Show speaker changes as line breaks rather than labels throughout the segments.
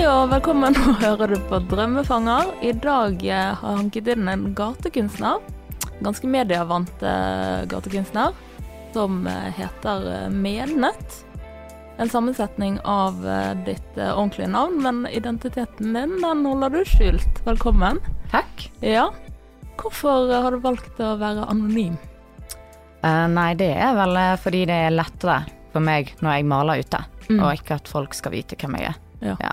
og velkommen og hører du på Drømmefanger. I dag eh, har jeg hanket inn en gatekunstner, ganske medievant eh, gatekunstner, som eh, heter eh, Mednett. En sammensetning av eh, ditt eh, ordentlige navn, men identiteten din den holder du skjult. Velkommen.
Takk.
Ja. Hvorfor eh, har du valgt å være anonym?
Eh, nei, det er vel eh, fordi det er lettere for meg når jeg maler ute,
Mm.
og ikke at folk skal vite hvem jeg er.
Ja.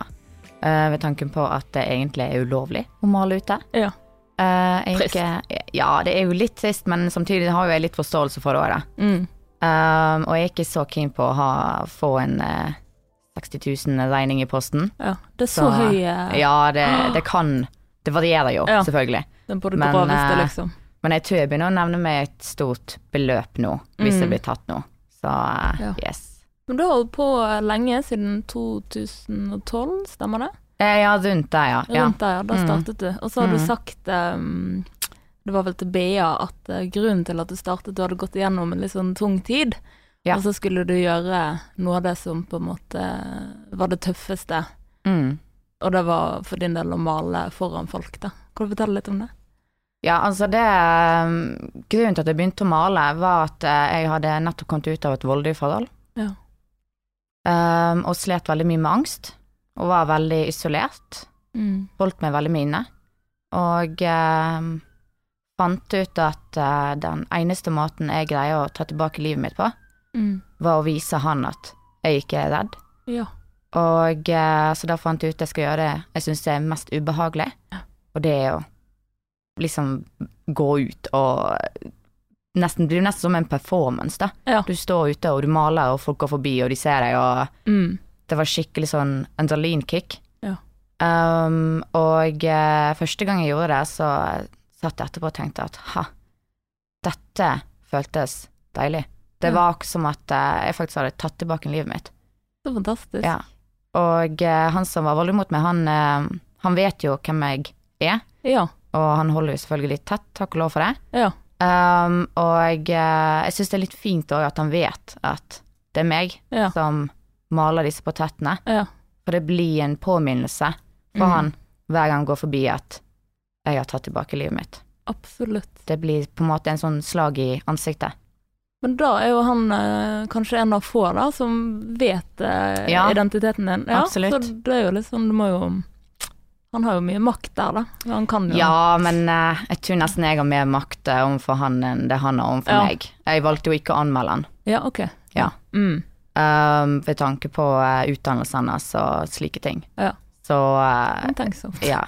Eh, ved tanken på at det egentlig er ulovlig å male ute.
Ja.
Eh, jeg
Trist.
Ikke, ja, det er jo litt trist, men samtidig har jo jeg litt forståelse for det òg, da.
Mm.
Um, og jeg er ikke så keen på å ha, få en eh, 60 000 regning i posten.
ja. Det er så,
Så-
høy eh,
Ja, det, det kan Det varierer jo,
Ja.
selvfølgelig.
den på det
men,
groveste,
eh,
liksom.
Men jeg tror jeg begynner å nevne meg et stort beløp nå, hvis
Mm.
jeg blir tatt nå. Så eh,
Ja.
yes.
Men du har holdt på eh, lenge, siden 2012, stemmer det?
Eh, ja, rundt der, ja. ja.
Rundt der, ja. Da
Mm.
startet du. Og så har du
Mm.
sagt, ehm, det var vel til BA, at eh, grunnen til at du startet, du hadde gått igjennom en litt sånn tung tid,
Ja.
og så skulle du gjøre noe av det som på en måte var det tøffeste,
Mm.
og det var for din del å male foran folk, da. Kan du fortelle litt om det?
Ja, altså det um, Grunnen til at jeg begynte å male, var at eh, jeg hadde nettopp kommet ut av et voldelig forhold.
Ja.
Um, og slet veldig mye med angst. Og var veldig isolert. Holdt meg veldig mye inne. Og um, fant ut at eh, den eneste måten jeg greier å ta tilbake livet mitt på,
Mm.
var å vise han at jeg ikke er redd.
Ja.
Og eh, så da fant jeg ut jeg skal gjøre det jeg syns er mest ubehagelig, og det er å liksom gå ut og nesten, Det blir nesten som en performance, da.
Ja.
Du står ute og du maler, og folk går forbi og de ser deg, og
Mm.
det var skikkelig sånn adrenalinkick.
Ja.
Um, og eh, første gang jeg gjorde det, så satt jeg etterpå og tenkte at ha, dette føltes deilig. Det
Ja.
var akkurat som at eh, jeg faktisk hadde tatt tilbake livet mitt.
Så fantastisk.
Ja. Og eh, han som var voldelig mot meg, han, eh, han vet jo hvem jeg er,
Ja.
og han holder jo selvfølgelig litt tett, takk og lov for det.
Ja.
Um, og eh, jeg syns det er litt fint òg at han vet at det er meg
Ja.
som maler disse portrettene,
Ja.
for det blir en påminnelse for
Mhm.
han hver gang han går forbi at jeg har tatt tilbake livet mitt.
Absolutt.
Det blir på en måte en sånn slag i ansiktet.
Men da er jo han eh, kanskje en av få da, som vet eh,
Ja,
identiteten din.
absolutt.
Så det er jo litt sånn, du må jo Han har jo mye makt der, da. Han kan jo
Ja, men eh, jeg tror nesten jeg har mer makt eh, overfor han enn det han har overfor
Ja.
meg. Jeg valgte jo ikke å anmelde han.
Ja, OK.
Ja.
Mm.
Um, ved tanke på uh, utdannelsen hans og slike ting.
Ja.
Så eh,
Men Tenk så.
ja.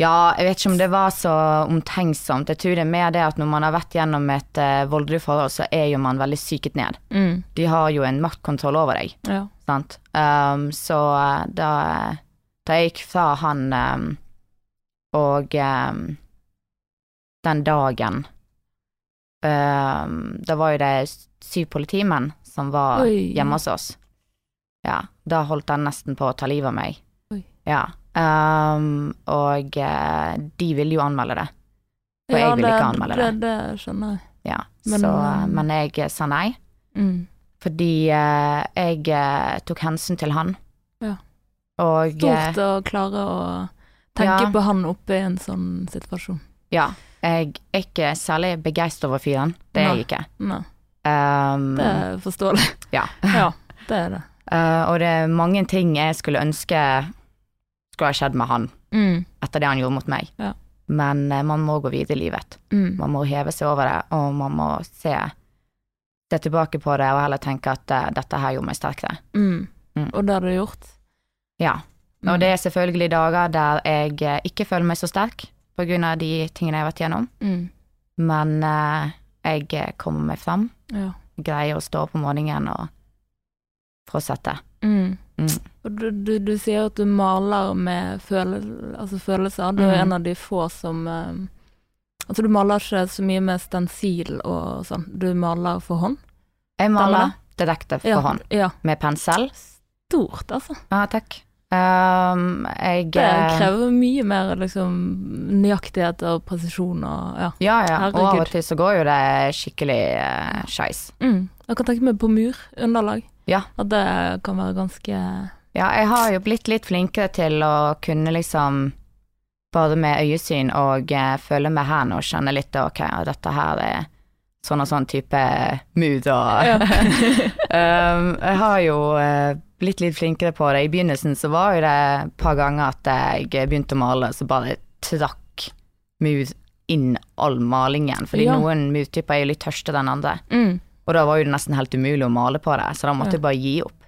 Ja, jeg vet ikke om det var så omtenksomt. Jeg tror det er mer det at når man har vært gjennom et eh, voldelig forhold, så er jo man veldig psyket ned.
Mm.
De har jo en maktkontroll over deg,
Ja.
sant. Um, så eh, da, da jeg gikk fra han um, og um, den dagen um, Da var jo det syv politimenn som var
Oi.
hjemme hos oss. Ja, da holdt han nesten på å ta livet av meg.
Oi.
Ja. Um, og eh, de ville jo anmelde det, og jeg ville ikke anmelde
det.
det.
Det skjønner jeg.
Ja.
Men,
så,
eh,
men jeg sa nei,
Mm.
fordi eh, jeg eh, tok hensyn til han.
Ja.
Og eh,
Stort å klare å tenke
Ja.
på han oppe i en sånn situasjon.
ja, jeg er ikke særlig begeistra over fyren. Det er
Nei.
jeg ikke.
Nei,
Um,
det er forståelig.
Ja.
ja, det er det.
eh, og det er mange ting jeg skulle ønske skulle ha skjedd med han
Mm.
etter det han gjorde mot meg.
Ja.
Men eh, man må gå videre i livet.
Mm.
Man må heve seg over det, og man må se, se tilbake på det og heller tenke at eh, dette her gjorde meg sterkere.
Mm.
Mm.
Og det har du gjort.
Ja.
Mm.
Og det er selvfølgelig dager der jeg eh, ikke føler meg så sterk på grunn av de tingene jeg har vært gjennom,
Mm.
men eh, jeg eh, kommer meg fram,
Ja.
greier å stå opp om morgenen og fortsette.
Mm.
Mm.
Og du, du, du sier jo at du maler med følel altså følelser. Du er
Mm.
en av de få som eh, Altså, du maler ikke så mye med stensil og sånn. Du maler for hånd.
Jeg
Stemmer
maler direkte for
ja,
hånd,
Ja.
med pensel.
Stort, altså.
Ja, takk. Um, jeg
Det
eh,
krever mye mer liksom nøyaktighet og presisjon og ja.
Ja, ja. Og av
Herregud.
og til så går jo det skikkelig uh, skeis.
Mm. Jeg kan tenke meg på mur, underlag.
Ja.
At det kan være ganske
Ja, jeg har jo blitt litt flinkere til å kunne liksom både med øyesyn og eh, føle med hendene og kjenne litt ok, ja, dette her er sånn og sånn type mood og um, Jeg har jo eh, blitt litt flinkere på det. I begynnelsen så var jo det et par ganger at jeg begynte å male, så bare trakk mood inn all malingen, fordi
Ja.
noen mood-typer er jo litt tørstere enn andre.
Mm.
Og da var jo det nesten helt umulig å male på det, så da måtte jeg bare gi opp.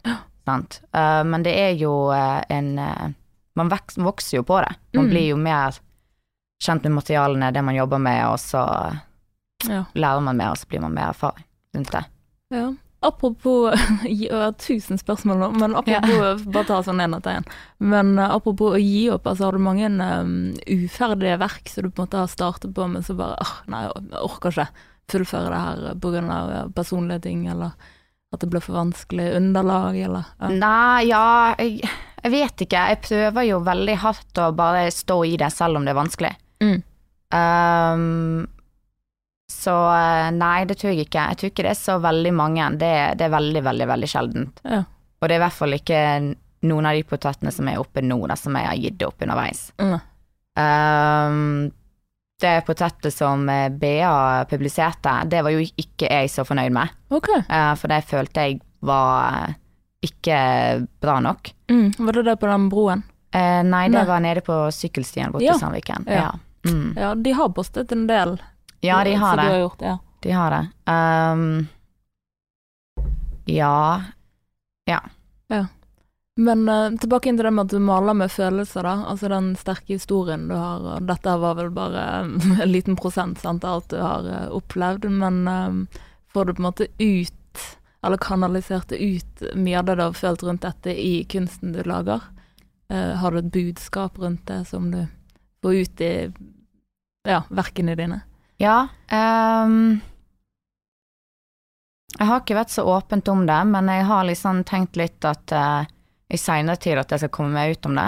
Sant? Eh, men det er jo eh, en eh, Man veks, vokser jo på det. Man
Mm.
blir jo mer kjent med materialene, det man jobber med, og så
Ja.
lærer man mer, og så blir man mer erfaring rundt det.
Ja. Apropos gi- Jeg har tusen spørsmål nå, men apropos Bare ta sånn en etter en. Men eh, apropos å gi opp, altså har du mange em, uferdige verk som du på en måte har startet på, men så bare åh, nei, jeg orker ikke fullføre det her pga. eh, personlige ting, eller at det ble for vanskelig underlag, eller ja.
Nei, ja jeg, jeg vet ikke. Jeg prøver jo veldig hardt å bare stå i det, selv om det er vanskelig.
Mm.
Ehm, så eh, nei, det tror jeg ikke. Jeg tror ikke det er så veldig mange. Det, det er veldig, veldig, veldig sjeldent.
Ja.
Og det er i hvert fall ikke noen av de portrettene som er oppe nå, da, som jeg har gitt opp underveis.
Mm.
Ehm, det portrettet som eh, BA publiserte, det var jo ikke jeg så fornøyd med.
OK.
eh, for det følte jeg var eh, ikke bra nok.
Mm. Var det det på den broen?
Eh, nei, det
Nei.
var nede på sykkelstien borte
Ja.
i Sandviken. Ja.
Ja.
Mm.
Ja, de har postet en del.
ja, de har
som Du
det.
har gjort, ja.
De har det. Ehm, ja
Men eh, tilbake inn til det med at du maler med følelser, da. Altså den sterke historien du har. og Dette her var vel bare en liten prosent sant, av alt du har eh, opplevd, men eh, får du på en måte ut, eller kanalisert ut, mye av det du har følt rundt dette i kunsten du lager? Eh, har du et budskap rundt det som du får ut i ja, verkene dine?
Ja. ehm, jeg har ikke vært så åpent om det, men jeg har liksom tenkt litt at eh, i seinere tid at jeg skal komme meg ut om det.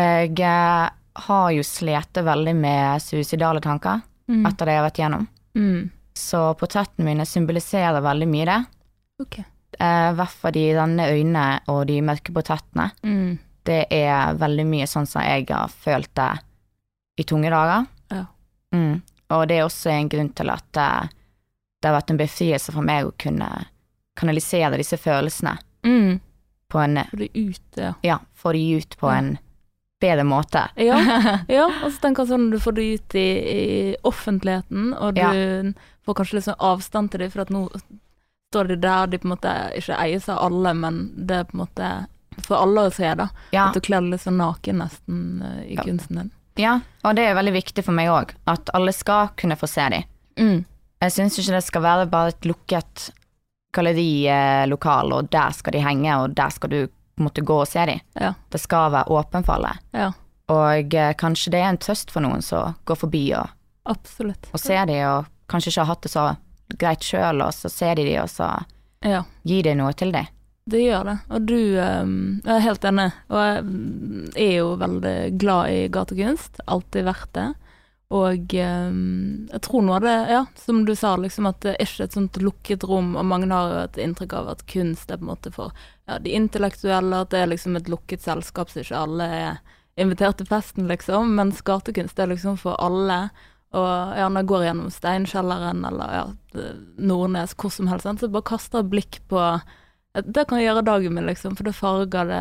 Jeg eh, har jo slitt veldig med suicidale tanker
Mm.
etter det jeg har vært gjennom.
Mm.
Så portrettene mine symboliserer veldig mye det.
Ok.
Eh, I hvert fall de renne øynene og de mørke portrettene.
Mm.
Det er veldig mye sånn som jeg har følt det i tunge dager.
Ja.
Mm. Og det er også en grunn til at eh, det har vært en befrielse for meg å kunne kanalisere disse følelsene
Mm.
på en
Får du ut det, ja.
Ja, få de ut på
Ja.
en bedre måte.
Ja, ja, og så tenker jeg sånn du får det ut i, i offentligheten, og du
Ja.
får kanskje litt sånn avstand til det, for at nå står de der, de på en måte ikke eies av alle, men det er på en måte for alle å se, da.
Ja,
At du kler deg litt sånn naken nesten eh, i
Ja.
kunsten din.
ja, og det er veldig viktig for meg òg, at alle skal kunne få se de. Jeg syns ikke det skal være bare et lukket gallerilokal, og der skal de henge, og der skal du måtte gå og se de.
Ja.
Det skal være åpen for alle.
Ja,
Og eh, kanskje det er en trøst for noen som går forbi og,
absolutt.
og ser de, og kanskje ikke har hatt det så greit sjøl, og så ser de de, og så
Ja.
gir de noe til de.
Det gjør det, og du ehm, Jeg er helt enig, og jeg mm, er jo veldig glad i gatekunst. Alltid vært det. Og ehm, jeg tror noe av det, ja, som du sa, liksom at det er ikke et sånt lukket rom, og mange har jo et inntrykk av at kunst er på en måte for ja, de intellektuelle, at det er liksom et lukket selskap så ikke alle er invitert til festen, liksom. Mens gatekunst er liksom for alle. Og ja, når jeg går gjennom Steinkjelleren eller ja, Nordnes, hvor som helst, sant, så bare kaster jeg blikk på det kan gjøre dagen min, liksom, for det farger det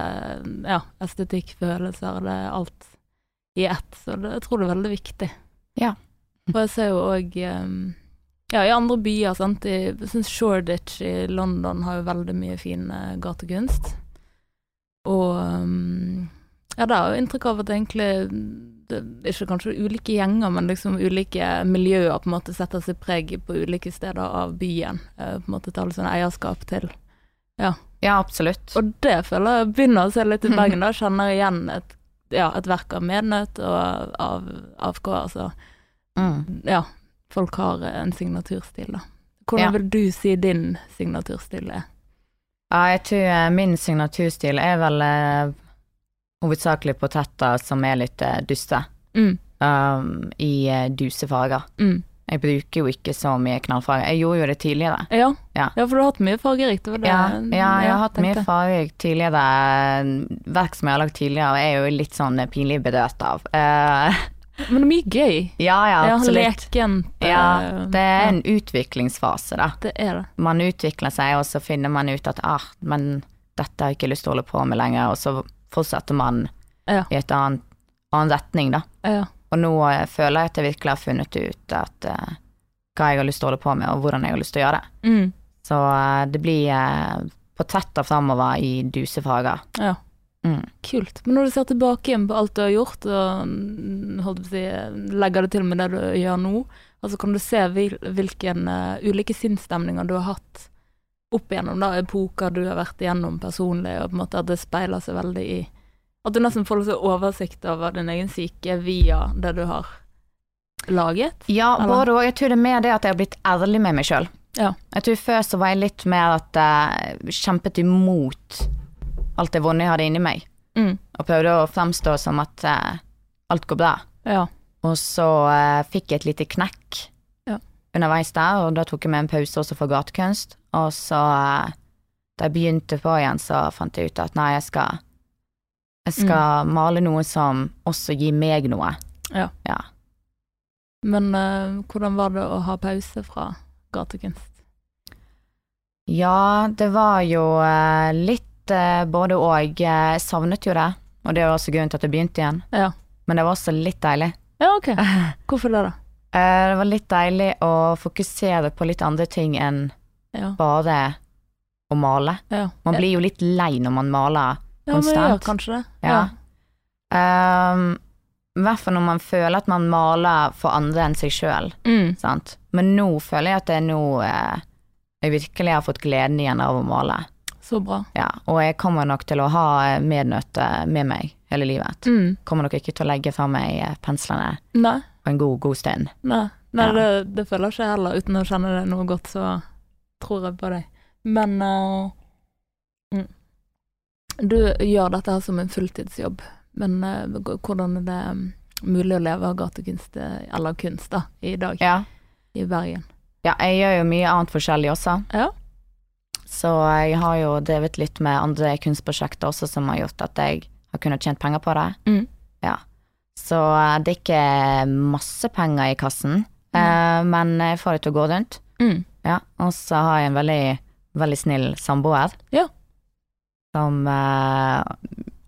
ja, estetikk, følelser, det er alt i ett. Så det, jeg tror det er veldig viktig.
Ja.
For jeg ser jo òg ja, i andre byer, sant. I, jeg syns Shoreditch i London har jo veldig mye fin eh, gatekunst. Og ehm, ja, det er jo inntrykk av at egentlig det, er Ikke kanskje ulike gjenger, men liksom ulike miljøer på en måte setter sitt preg på ulike steder av byen. eh, På en måte tar litt sånn eierskap til
Ja, absolutt.
og det føler jeg begynner å se litt i Bergen, da. Kjenner jeg igjen et, ja, et verk av Mednøtt og av AFK. Altså,
Mm.
ja, folk har en signaturstil, da. Hvordan
Ja.
vil du si din signaturstil er?
Ja, jeg tror eh, min signaturstil er vel eh, hovedsakelig portretter som er litt eh, duste,
Mm,
um, i eh, duse farger.
mm.
Jeg bruker jo ikke så mye knallfarger. Jeg gjorde jo det tidligere.
Ja,
Ja.
Ja, for du har hatt mye fargerikt. det var det-
Ja, ja, jeg har hatt mye
tenkte.
fargerik tidligere. Verk som jeg har lagd tidligere, og er jo litt sånn pinlig bedøvd av. Eh,
Men det er mye gøy.
ja, ja,
Ja,
absolutt.
lekent. eh,
Ja, det er
ja,
en utviklingsfase, da.
det er det.
Man utvikler seg, og så finner man ut at ah, men dette har jeg ikke lyst til å holde på med lenger, og så fortsetter man
Ja.
i et annet, annen retning, da.
Ja.
Og nå eh, føler jeg at jeg virkelig har funnet ut at, eh, hva jeg har lyst til å holde på med, og hvordan jeg har lyst til å gjøre det.
Mm.
Så eh, det blir eh, portretter framover i dusefager.
ja.
Mm.
Kult. Men når du ser tilbake igjen på alt du har gjort, og mm, holdt på å si, legger det til med det du gjør nå, altså kan du se hvil- hvilken eh, ulike sinnsstemninger du har hatt opp igjennom da, epoker du har vært igjennom personlig, og på en måte at det speiler seg veldig i At du nesten får litt sånn oversikt over din egen psyke via det du har laget.
Ja,
Eller?
både òg. Jeg tror det er mer det at jeg har blitt ærlig med meg sjøl.
Ja.
Jeg tror før så var jeg litt mer at jeg kjempet imot alt det vonde jeg hadde inni meg,
Mm.
og prøvde å fremstå som at eh, alt går bra.
Ja.
Og så eh, fikk jeg et lite knekk
Ja.
underveis der, og da tok jeg meg en pause også for gatekunst. Og så, eh, da jeg begynte på igjen, så fant jeg ut at nei, jeg skal, jeg skal male noe som også gir meg noe.
Ja.
Ja.
Men eh, hvordan var det å ha pause fra gatekunst?
Ja, det var jo eh, litt eh, både og. Jeg savnet jo det, og det var også grunnen til at jeg begynte igjen.
Ja.
Men det var også litt deilig.
Ja, ok. Hvorfor det, da?
Eh, Det var litt deilig å fokusere på litt andre ting enn
Ja.
bare å male.
ja.
Man blir jo litt lei når man maler.
ja, men jeg gjør
konstant.
kanskje det.
Ja. Um, I hvert fall når man føler at man maler for andre enn seg sjøl.
Mm.
Sant? Men nå føler jeg at det er nå eh, jeg virkelig har fått gleden igjen av å male.
Så bra.
Ja, og jeg kommer nok til å ha eh, mednøtte med meg hele livet.
Mm.
Kommer nok ikke til å legge fra meg eh, penslene
Nei,
på en god, god stund.
nei, nei
Ja.
det, det føler ikke jeg heller. Uten å kjenne det noe godt, så tror jeg på deg. Men eh, mm. Du gjør dette her som en fulltidsjobb, men eh, g- hvordan er det mm, mulig å leve av gatekunst, eh, eller kunst, da, i dag
Ja.
i Bergen?
ja, jeg gjør jo mye annet forskjellig også.
Ja.
Så jeg har jo drevet litt med andre kunstprosjekter også som har gjort at jeg har kunnet tjent penger på det.
Mm.
Ja. Så eh, det er ikke masse penger i kassen, eh, men jeg får det til å gå rundt.
Mm.
Ja, og så har jeg en veldig, veldig snill samboer.
Ja.
Som eh,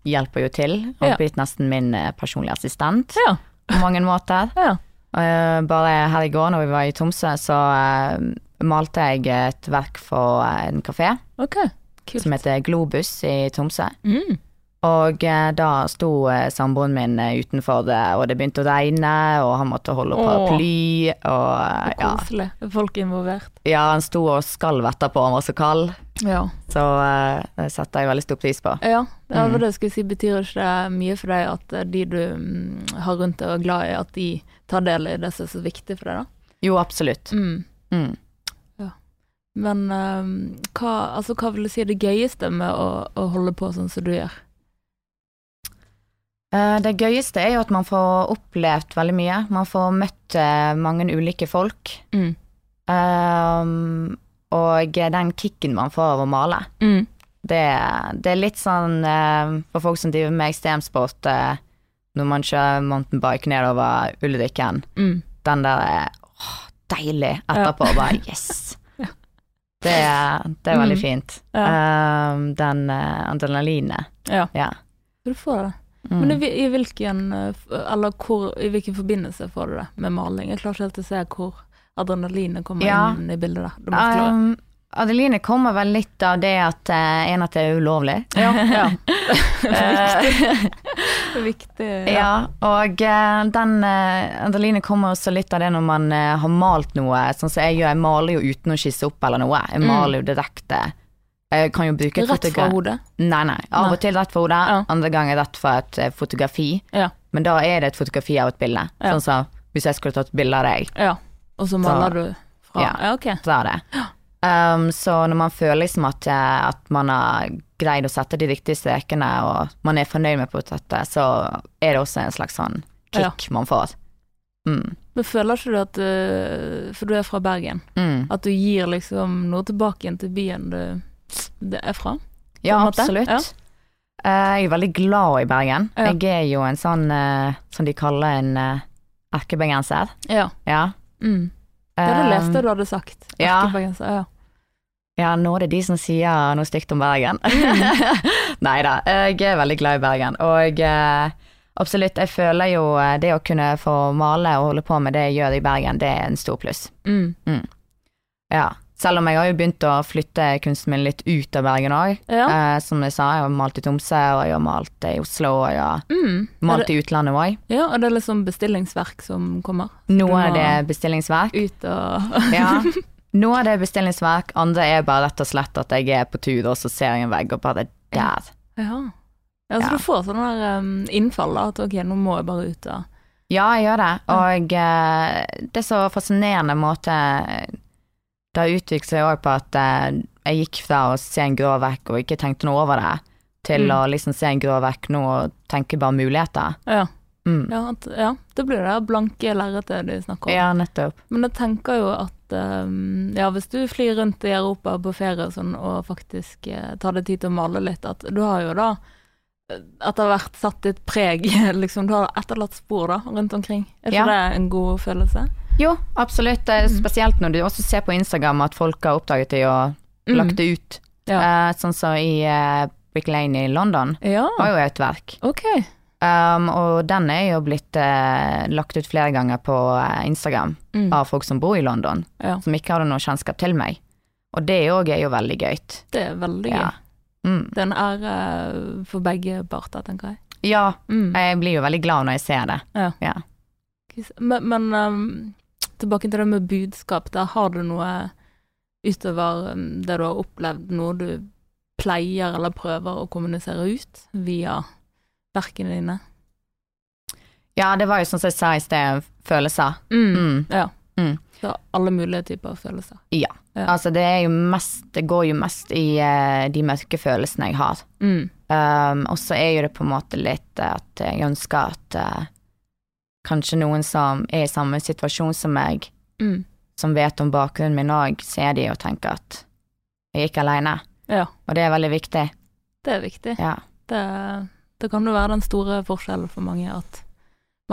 hjelper jo til. Og
Ja.
blitt nesten min eh, personlige assistent
Ja.
på mange måter.
Ja.
Eh, bare her i går når vi var i Tromsø, så eh, malte jeg et verk for eh, en kafé
OK. Kult.
som heter Globus i Tromsø.
Mm.
Og eh, da sto eh, samboeren min eh, utenfor, det, og det begynte å regne, og han måtte holde
Åh.
paraply, og eh, ja.
Koselig. Folk involvert.
ja, han sto og skalv etterpå, han var så kald.
Ja.
Så eh, det setter jeg veldig stor pris på.
Ja, det var
Mm.
det jeg skulle si. Betyr ikke det mye for deg at eh, de du mm, har rundt deg og er glad i, at de tar del i det som er så viktig for deg, da?
Jo, absolutt.
Mm.
Mm.
Men eh, hva, altså, hva vil du si er det gøyeste med å, å holde på sånn som du gjør?
Eh, Det gøyeste er jo at man får opplevd veldig mye. Man får møtt eh, mange ulike folk.
Mm.
Um, og den kicken man får av å male,
Mm.
det, det er litt sånn eh, for folk som driver med ekstremsport, eh, når man kjører mountain bike nedover Ulrikken,
Mm.
den der er åh, deilig etterpå, bare yes. Det, er- det er veldig
Mm.
fint.
Ja.
Um, den eh, adrenalinet.
Ja.
Ja.
Du får det.
Mm.
Men i, hvil- i hvilken eh, f- Eller hvor, i hvilken forbindelse får du det med maling? Jeg klarer ikke helt å se hvor adrenalinet kommer
Ja.
inn i bildet der. Du må forklare.
Um, Adeline kommer vel litt av det at eh, en at det er ulovlig.
Ja, ja.
Eh,
Viktig.
ja, og eh, den eh, Adeline kommer også litt av det når man eh, har malt noe. Sånn som jeg gjør, jeg maler jo uten å skisse opp eller noe. Jeg
Mm.
maler jo direkte. Jeg kan jo bruke et
Rett fra
fotogra-
hodet.
Nei, nei. Av
Nei.
og til rett fra hodet,
Ja.
andre ganger rett fra et eh, fotografi.
Ja.
Men da er det et fotografi av et bilde.
Ja.
Sånn som hvis jeg skulle tatt bilde av deg.
Ja, og så maler du fra
Ja.
Ja, ok.
fra det. Um, så når man føler liksom at, eh, at man har greid å sette de riktige strekene, og man er fornøyd med portrettet, så er det også en slags sånn kick man får. Mm.
Men føler ikke du at du For du er fra Bergen.
Mm.
At du gir liksom noe tilbake igjen til byen du det er fra?
Ja,
en måte.
absolutt.
Ja.
Eh, jeg er veldig glad i Bergen.
Ja.
Jeg er jo en sånn eh, som de kaller en eh, erkebergenser.
Ja.
Ja. Um,
Mm. Det hadde jeg lest det du hadde sagt.
ja.
Erkebergenser, Ja.
Ja, nå er det de som sier noe stygt om Bergen.
Mm.
Nei da, jeg er veldig glad i Bergen. Og eh, absolutt, jeg føler jo eh, det å kunne få male og holde på med det jeg gjør i Bergen, det er en stor pluss.
Mm.
Ja. Selv om jeg har jo begynt å flytte kunsten min litt ut av Bergen òg.
ja.
som jeg sa, jeg har malt i Tromsø, og jeg har malt eh, i Oslo, og jeg har
Mm. Er
malt
det,
i utlandet òg.
ja, og det er liksom bestillingsverk som kommer
Noe
Du må-
av det er bestillingsverk.
ut og
Ja. Noe av det er bestillingsverk, andre er bare rett og slett at jeg er på tur, og så ser jeg en vegg, og bare der.
Ja. ja så
Ja.
du får sånne der, um, innfall da, at ok, nå må jeg bare ut og
Ja, jeg gjør det. Og eh, det er så fascinerende måte eh, Det har utviklet seg òg på at eh, jeg gikk fra å se en grå vekk og ikke tenkte noe over det, til
Mm.
å liksom se en grå vekk nå og tenke bare muligheter.
Ja,
Mm.
ja, at, ja. det blir det der blanke lerretet du snakker om.
Ja, nettopp.
Men jeg tenker jo at um, ja, hvis du flyr rundt i Europa på ferie og sånn, og faktisk eh, tar deg tid til å male litt, at du har jo da eh, etter hvert satt ditt preg, liksom. Du har etterlatt spor da, rundt omkring. Er ikke
Ja.
det en god følelse?
Jo, absolutt. Det er Spesielt når du også ser på Instagram at folk har oppdaget det og
Mm.
lagt det ut. Eh, sånn som i eh, Brick Lane i London.
Ja,
Har jo et verk.
ok.
Um, og den er jo blitt eh, lagt ut flere ganger på eh, Instagram
Mm.
av folk som bor i London,
Ja.
som ikke hadde noe kjennskap til meg. Og det òg er jo veldig gøy.
Det er veldig
Ja.
gøy.
Mm.
Det er en ære for begge parter, tenker jeg.
ja,
Mm.
jeg blir jo veldig glad når jeg ser det.
Men, men um, tilbake til det med budskap. Der har du noe utover um, det du har opplevd, noe du pleier eller prøver å kommunisere ut via verkene dine?
Ja, det var jo sånn som jeg sa i sted, følelser.
Mm.
Mm.
Ja.
Mm.
Så alle mulige typer følelser. Ja.
Altså, det er jo mest Det går jo mest i eh, de mørke følelsene jeg har.
Mm.
Um, og så er jo det på en måte litt eh, at jeg ønsker at eh, kanskje noen som er i samme situasjon som meg,
Mm.
som vet om bakgrunnen min òg, ser de og tenker at jeg er ikke aleine.
Ja,
Og det er veldig viktig.
det er viktig.
Ja.
Det, det kan jo være den store forskjellen for mange, at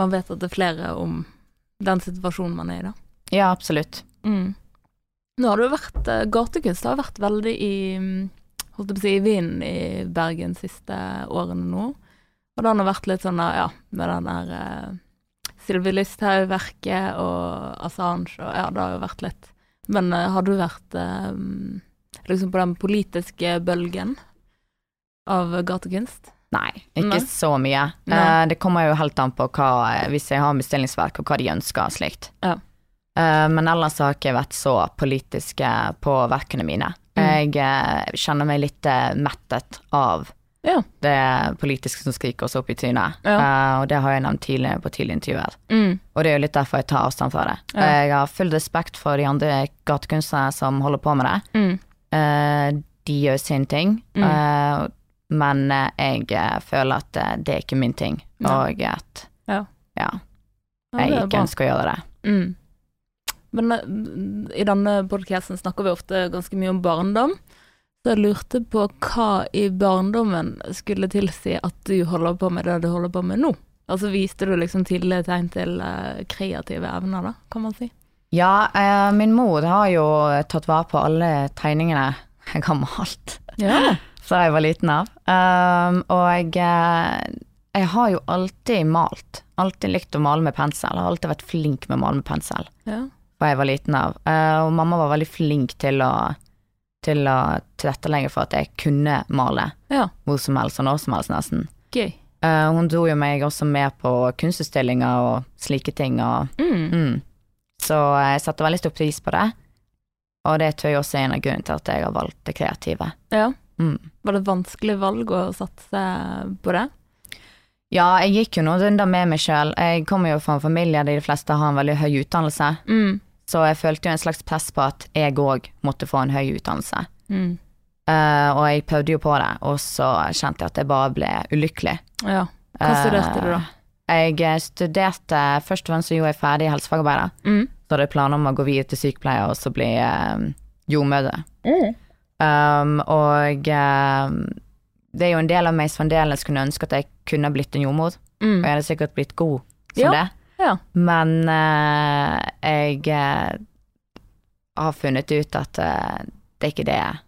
man vet at det er flere om den situasjonen man er i, da.
ja, absolutt.
Mm. Nå har det jo vært eh, Gatekunst har vært veldig i mm, holdt jeg på å si, i vinden i Bergen de siste årene nå. Og den har vært litt sånn der, ja, med den der eh, Sylvi Listhaug-verket og Assange og ja, det har jo vært litt Men eh, har du vært eh, mm, liksom på den politiske bølgen av gatekunst?
Nei, ikke
Nei.
så mye.
Nei.
Eh, det kommer jo helt an på hva, eh, hvis jeg har bestillingsverk, og hva de ønsker og slikt.
Ja.
Eh, men ellers har jeg ikke vært så politisk eh, på verkene mine.
Mm.
Jeg eh, kjenner meg litt eh, mettet av
Ja.
det politiske som skriker oss opp i trynet. Eh, og det har jeg nevnt tidligere på tidligere intervjuer. Og det er jo litt derfor jeg tar avstand fra det.
Ja.
Jeg har full respekt for de andre gatekunstnere som holder på med det. Eh, de gjør sin ting,
Mm.
eh, men eh, jeg eh, føler at eh, det er ikke min ting,
Nei.
og at
Ja. Ja,
ja, jeg
det er
ikke
bra.
ønsker å gjøre det.
Mm. Men eh, i denne podcasten snakker vi ofte ganske mye om barndom. Så jeg lurte på hva i barndommen skulle tilsi at du holder på med det du holder på med nå? Altså viste du liksom tidlige tegn til eh, kreative evner, da, kan man si?
Ja, eh, min mor har jo eh, tatt vare på alle tegningene jeg har malt
Ja.
fra jeg var liten av. Um, og eh, jeg har jo alltid malt. Alltid likt å male med pensel. Har alltid vært flink med å male med pensel.
ja.
fra jeg var liten av. Eh, og mamma var veldig flink til å, til å tilrettelegge for at jeg kunne male
Ja.
hvor som helst og når som helst, nesten.
Gøy.
Eh, hun dro jo meg også med på kunstutstillinger og slike ting, og
Mm.
mm. Så eh, jeg setter veldig stor pris på det. Og det tror jeg også er en av grunnene til at jeg har valgt det kreative.
Ja.
Mm.
Var det vanskelig valg å satse på det?
Ja, jeg gikk jo noen runder med meg sjøl. Jeg kommer jo fra en familie der de fleste har en veldig høy utdannelse,
Mm.
så jeg følte jo en slags press på at jeg òg måtte få en høy utdannelse.
Mm.
Eh, og jeg prøvde jo på det, og så kjente jeg at jeg bare ble ulykkelig.
Ja. Hva studerte du, da?
Jeg eh, studerte Først og fremst så gjorde jeg ferdig helsefagarbeider.
Mm.
Så hadde jeg planer om å gå videre til sykepleier og så bli eh, jordmødre. Um, og um, det er jo en del av meg som fremdeles kunne ønske at jeg kunne blitt en jordmor. Og
Mm.
jeg hadde sikkert blitt god som
Ja.
det.
Ja.
Men eh, jeg eh, har funnet ut at eh, det er ikke det jeg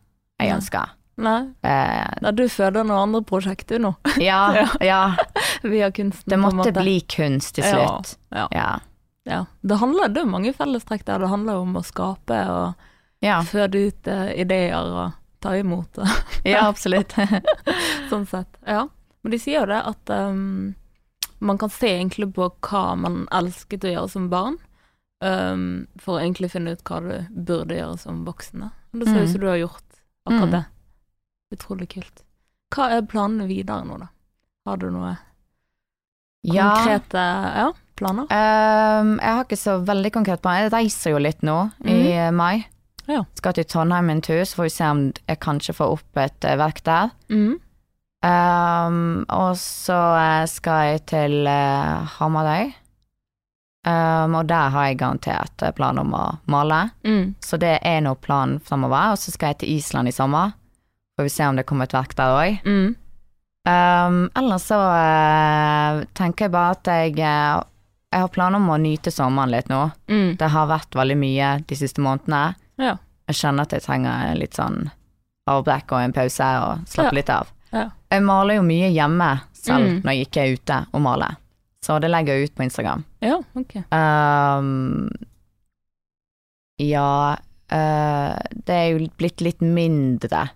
Nei.
ønsker.
Nei,
Eh,
Nei, du føler noen andre prosjekter nå,
ja, ja.
via kunsten.
Det
på en
måtte
måte.
bli kunst til slutt.
Ja, ja.
Ja.
Ja. Det handler det er mange fellestrekk der. Det handler jo om å skape og
Ja,
føde ut eh, ideer og ta imot det,
ja absolutt.
sånn sett. Ja. Men de sier jo det at um, man kan se egentlig på hva man elsket å gjøre som barn, um, for å egentlig finne ut hva du burde gjøre som voksen. da. Men Det ser
Mm.
ut som du har gjort akkurat
Mm.
det. Utrolig kult. Hva er planene videre nå, da? Har du noe
ja.
konkrete ja, planer?
Ehm, jeg har ikke så veldig konkret plan. Jeg reiser jo litt nå i eh, mai.
Ja.
Skal til Trondheim en tur, så får vi se om jeg kanskje får opp et eh, verk der.
Mm.
Ehm, og så eh, skal jeg til eh, Hamarøy. Ehm, og der har jeg garantert eh, plan om å male.
Mm.
Så det er nå planen framover. Og så skal jeg til Island i sommer. Får vi se om det kommer et verk der òg.
Mm.
Um, ellers så eh, tenker jeg bare at jeg eh, Jeg har planer om å nyte sommeren litt nå.
Mm.
Det har vært veldig mye de siste månedene.
Ja.
Jeg skjønner at jeg trenger litt sånn avbrekk og en pause og slappe
Ja.
litt av.
Ja.
Jeg maler jo mye hjemme selv
Mm.
når jeg ikke er ute og maler, så det legger jeg ut på Instagram.
ja, ok.
Um, ja eh, Det er jo blitt litt mindre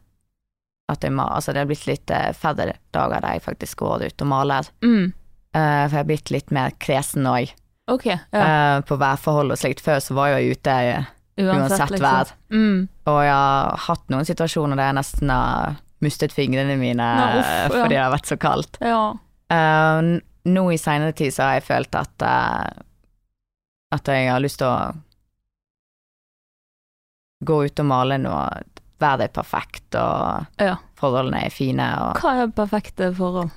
at jeg maler. Altså, det har blitt litt eh, færre dager der jeg faktisk går ut og maler.
Mm.
Eh, for jeg har blitt litt mer kresen òg,
Ok,
Eh,
ja.
på værforhold og slikt. Før så var jeg jo ute eh, uansett, vær.
Mm.
Og jeg har hatt noen situasjoner der jeg nesten har mistet fingrene mine
Nei, uff,
eh,
ja.
fordi det har vært så kaldt.
Ja.
Eh, n- nå i seinere tid så har jeg følt at eh, at jeg har lyst til å gå ut og male noe, været er perfekt og
Ja.
forholdene er fine og
Hva er perfekte forhold?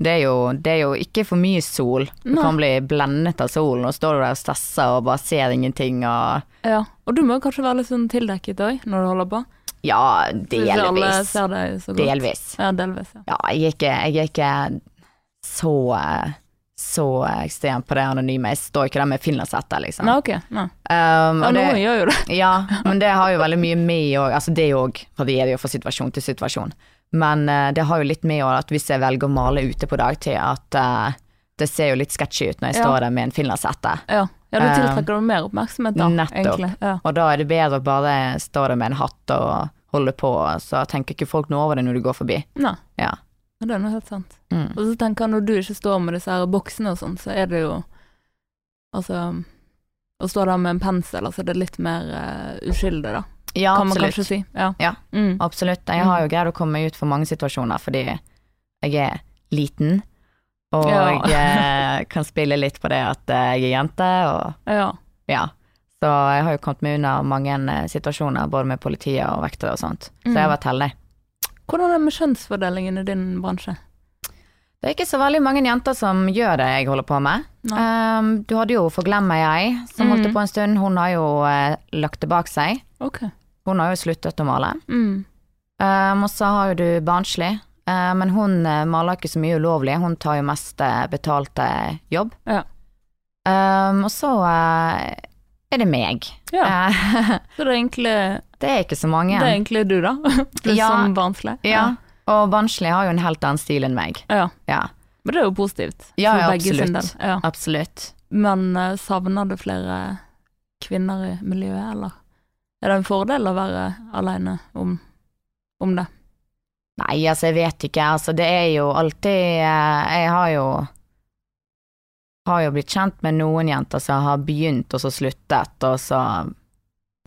det er, jo, det er jo ikke for mye sol. Du
Nei.
kan bli blendet av solen, og står du der og stresser og bare ser ingenting og
Ja. Og du må kanskje være litt sånn tildekket òg, når du holder på?
Ja,
Hvis ikke alle
delvis.
ser deg så godt.
Delvis.
Ja, delvis, ja.
Ja, jeg er ikke, jeg er ikke så så ekstrem på det anonyme. Jeg står ikke der med finlandshetter, liksom.
Nei, ok. Nei.
Um,
Ja,
og
noen
det,
gjør jo det.
ja, men det har jo veldig mye med òg Altså, det òg varierer jo fra situasjon til situasjon, men eh, det har jo litt med òg at hvis jeg velger å male ute på dagtid, at eh, det ser jo litt sketchy ut når jeg
Ja.
står der med en finlandshette.
Ja, ja du
Eh,
tiltrekker deg mer oppmerksomhet da,
nettopp.
egentlig. Ja.
Og da er det bedre å bare stå der med en hatt og holde på, så tenker ikke folk noe over det når du går forbi.
Nei.
Ja.
Ja, det er noe helt sant.
Mm.
Og så tenker jeg når du ikke står med disse her boksene og sånn, så er det jo Altså Å stå der med en pensel, altså det er litt mer eh, uskyldig, da,
Ja,
kan man
absolutt.
kanskje si. Ja.
Ja.
Mm.
Absolutt. Jeg har jo greid å komme meg ut for mange situasjoner fordi jeg er liten. Og
Ja.
jeg kan spille litt på det at eh, jeg er jente, og
ja.
ja. Så jeg har jo kommet meg unna mange eh, situasjoner, både med politiet og vektere og sånt. Så jeg har
Mm.
vært heldig.
Hvordan er det med kjønnsfordelingen i din bransje?
Det er ikke så veldig mange jenter som gjør det jeg holder på med. Um, du hadde jo Forglem meg ei, som holdt
Mm.
på en stund. Hun har jo eh, lagt det bak seg.
Ok.
Hun har jo sluttet å male.
Mm.
Um, og så har jo du Barnslig, eh, men hun eh, maler ikke så mye ulovlig. Hun tar jo mest eh, betalte jobb.
Ja.
Um, og så eh, er det meg.
ja.
Eh,
Så det er egentlig,
det er ikke så mange.
det er egentlig du, da? Du
Ja.
som barnslig?
ja. Og Barnslig har jo en helt annen stil enn meg.
ja.
Ja,
Men det er jo positivt.
Ja,
for
ja,
begge sin
absolutt.
del. Ja.
absolutt.
Men eh, savner du flere kvinner i miljøet, eller? Er det en fordel å være aleine om, om det?
Nei, altså, jeg vet ikke. Altså, det er jo alltid eh, Jeg har jo har jo blitt kjent med noen jenter som har begynt, og så sluttet, og så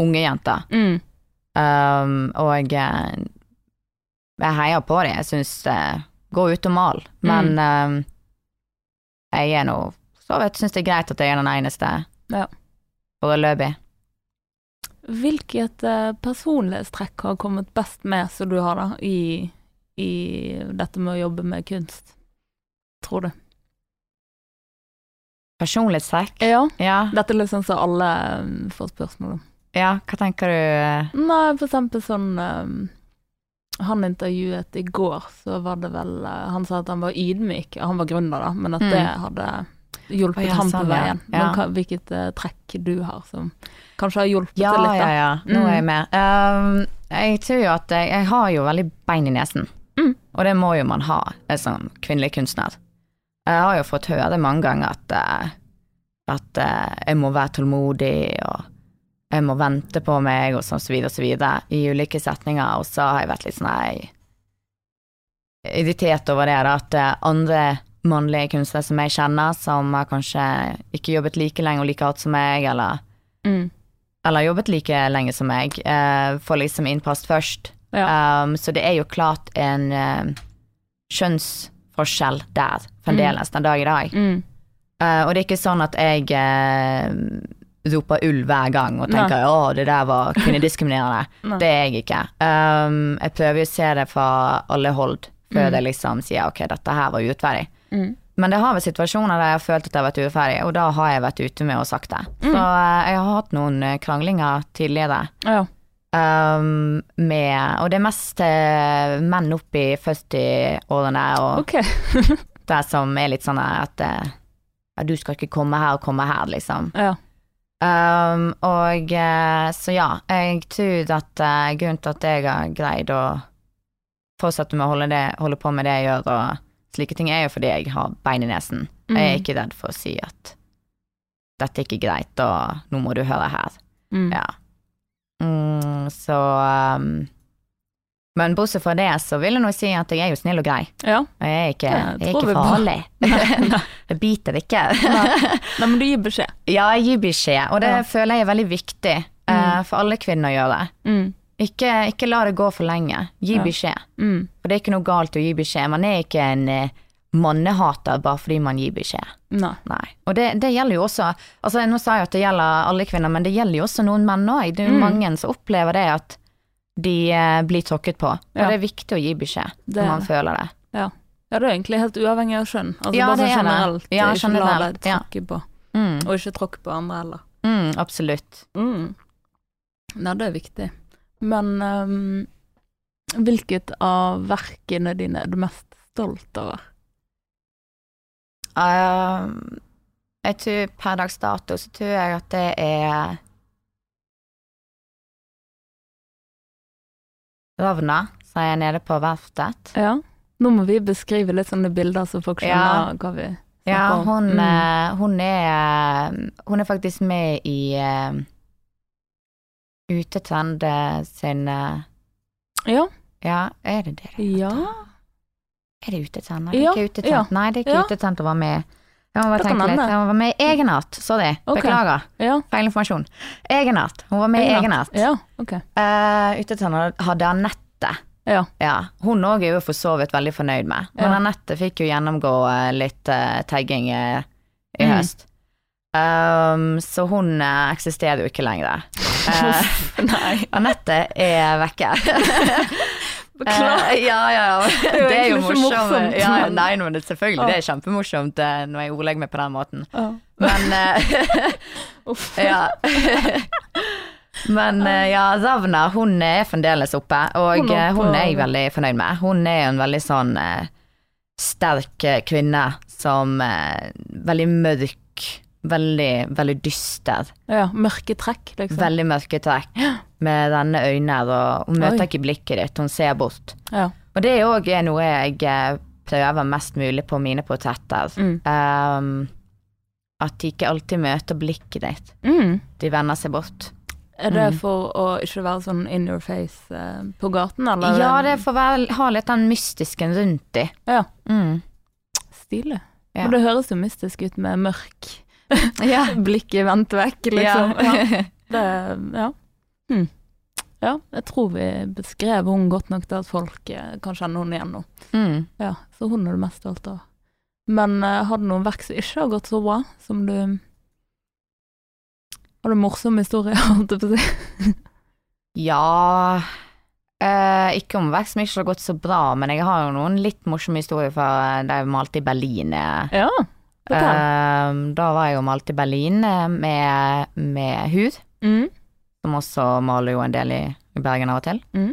unge jenter.
Mm.
Um, og eh, jeg heier på det. Jeg syns eh, Gå ut og mal. Men eh, jeg er nå Så vidt syns det er greit at jeg er den eneste
Ja.
foreløpig.
Hvilket eh, personlighetstrekk har kommet best med, som du har, da, i, i dette med å jobbe med kunst, tror du?
Personlighetstrekk?
Ja.
Ja.
Dette er liksom så alle um, får spørsmål om.
ja, hva tenker du? eh,
Nei, for eksempel sånn um, Han intervjuet i går, så var det vel eh, Han sa at han var ydmyk, han var gründer, da, men at
Mm.
det hadde hjulpet
Å, ja,
ham
sånn,
på
ja.
veien.
Ja.
Men hva, hvilket eh, trekk du har som kanskje har hjulpet
Ja,
til litt,
ja,
da.
ja. Nå
Mm.
er jeg med. Um, jeg tror jo at jeg, jeg har jo veldig bein i nesen.
Mm.
Og det må jo man ha eh, som kvinnelig kunstner. Jeg har jo fått høre mange ganger at, eh, at eh, jeg må være tålmodig, og jeg må vente på meg, og sånn så videre og så videre, i ulike setninger. Og så har jeg vært litt sånn nei, irritert over det, da, at eh, andre mannlige kunstnere som jeg kjenner, som har kanskje ikke jobbet like lenge og like hardt som meg, eller
Mm.
eller jobbet like lenge som meg, eh, får liksom innpass først.
Ja.
Um, så det er jo klart en eh, kjønnsforskjell der fremdeles den dag i dag.
Mm.
Eh, og det er ikke sånn at jeg eh, roper ulv hver gang og
Nei.
tenker å, det der var kvinnediskriminerende.
Nei.
det er jeg ikke. Um, jeg prøver jo å se det fra alle hold før jeg liksom sier ok, dette her var urettferdig.
Mm.
Men det har vært situasjoner der jeg har følt at jeg har vært urettferdig, og da har jeg vært ute med og sagt det. Så eh, jeg har hatt noen eh, kranglinger tidligere
Ja.
um, med Og det er mest eh, menn opp i 40-årene og
Ok.
der som er litt sånn her at eh, ja, du skal ikke komme her og komme her, liksom.
ja.
Um, og eh, så ja, jeg tror at eh, grunnen til at jeg har greid å fortsette med å holde, det, holde på med det jeg gjør og slike ting, er jo fordi jeg har bein i nesen. Jeg er
Mm.
ikke redd for å si at dette er ikke greit, og nå må du høre her.
Mm.
Ja. Mm, så um, Men bortsett fra det, så vil jeg nå si at jeg er jo snill og grei.
ja.
Og jeg er ikke,
Det
jeg er
tror vi
ikke
på.
farlig.
nei.
jeg biter ikke.
Nei, men du gir beskjed.
ja, jeg gir beskjed, og det
Ja.
føler jeg er veldig viktig eh, for alle kvinner å gjøre.
Mm.
Ikke, ikke la det gå for lenge. Gi
Ja.
beskjed.
Mm.
For det er ikke noe galt å gi beskjed. Man er ikke en eh, mannehater bare fordi man gir beskjed.
Nei.
Nei. Og det, det gjelder jo også altså Nå sa jeg at det gjelder alle kvinner, men det gjelder jo også noen menn òg. Det er jo
Mm.
mange som opplever det at de eh, blir tråkket på. Og
Ja.
det er viktig å gi beskjed
Det
når
er
man
det.
føler det.
Ja. ja, det er egentlig helt uavhengig av kjønn. Altså,
Ja,
bare sånn
det er det.
generelt.
Ja,
ikke la deg
generelt, ja.
tråkke på.
Mm.
Og ikke tråkke på andre heller.
Mm, absolutt.
Mm. Nei, det er viktig. Men ehm, hvilket av verkene dine er du mest stolt over?
Ehm, jeg tror per dags dato så tror jeg at det er Ravna, som er nede på verftet.
Ja. Nå må vi beskrive litt sånne bilder, så folk skjønner
Ja.
hva vi snakker
Ja,
om.
hun,
Mm.
eh, hun er eh, Hun er faktisk med i eh, Utetrend eh, sin eh,
ja.
Ja, er det det?
ja.
Er det Utetrend? Nei, det er
Ja,
ikke Utetrend.
ja.
Nei, det er ikke
Ja.
Utetrend å være med i. Jeg må bare
Det kan
tenke litt.
hende.
Hun var med i Egenart. Sorry,
Ok.
beklager.
Ja.
Feil informasjon. Egenart. Hun var med i Egenart.
Ja, ok.
Eh, Utetrend hadde Anette.
Ja.
Ja, hun òg er jo for så vidt veldig fornøyd med. Men
Ja.
Anette fikk jo gjennomgå eh, litt eh, tagging eh, i
Mm.
høst. Um, så hun eh, eksisterer jo ikke lenger. Eh,
Nei,
Anette er vekke.
beklager.
Eh, ja, ja, ja.
er jo
Det er jo
egentlig så
morsomt.
morsomt, Ah.
ja,
men-
nei, men det, selvfølgelig, det er kjempemorsomt eh, når jeg ordlegger meg på den måten.
Ja.
Men eh,
Uff.
Ja. Men eh, ja, Ravna hun er fremdeles oppe, og
Hun er
eh,
oppe,
hun er jeg
og-
veldig fornøyd med. Hun er jo en veldig sånn eh, sterk eh, kvinne som eh, Veldig mørk, veldig, veldig dyster.
ja. Mørke trekk, liksom.
Veldig mørke trekk, med renne øyne, og hun møter
Oi.
ikke blikket ditt, hun ser bort.
Ja.
Og det er òg noe jeg eh, prøver mest mulig på mine portretter.
Mm.
Ehm, at de ikke alltid møter blikket ditt,
Mm.
de vender seg bort.
Er det for å ikke være sånn in your face eh, på gaten, eller?
Ja, det får være, ha litt den mystisken rundt de.
Ja,
Mm.
stilig.
Ja.
Men det høres jo mystisk ut med mørk,
Ja.
blikket vendt vekk, liksom. Ja.
Ja.
Det, ja.
Hmm.
Hm. ja, jeg tror vi beskrev hun godt nok til at folk eh, kan kjenne hun igjen nå.
Mm.
Ja, så hun er du mest stolt av. Men eh, har du noen verk som ikke har gått så bra, som du Har du morsomme historier, holdt jeg på å si?
ja. Eh, ikke om vekst som ikke har gått så bra, men jeg har jo noen litt morsomme historier fra da jeg malte i Berlin. eh,
Ja. Fortell.
Ehm, da var jeg jo malt i Berlin eh, med, med hud,
Mm.
som også maler jo en del i, i Bergen av og til.
Mm.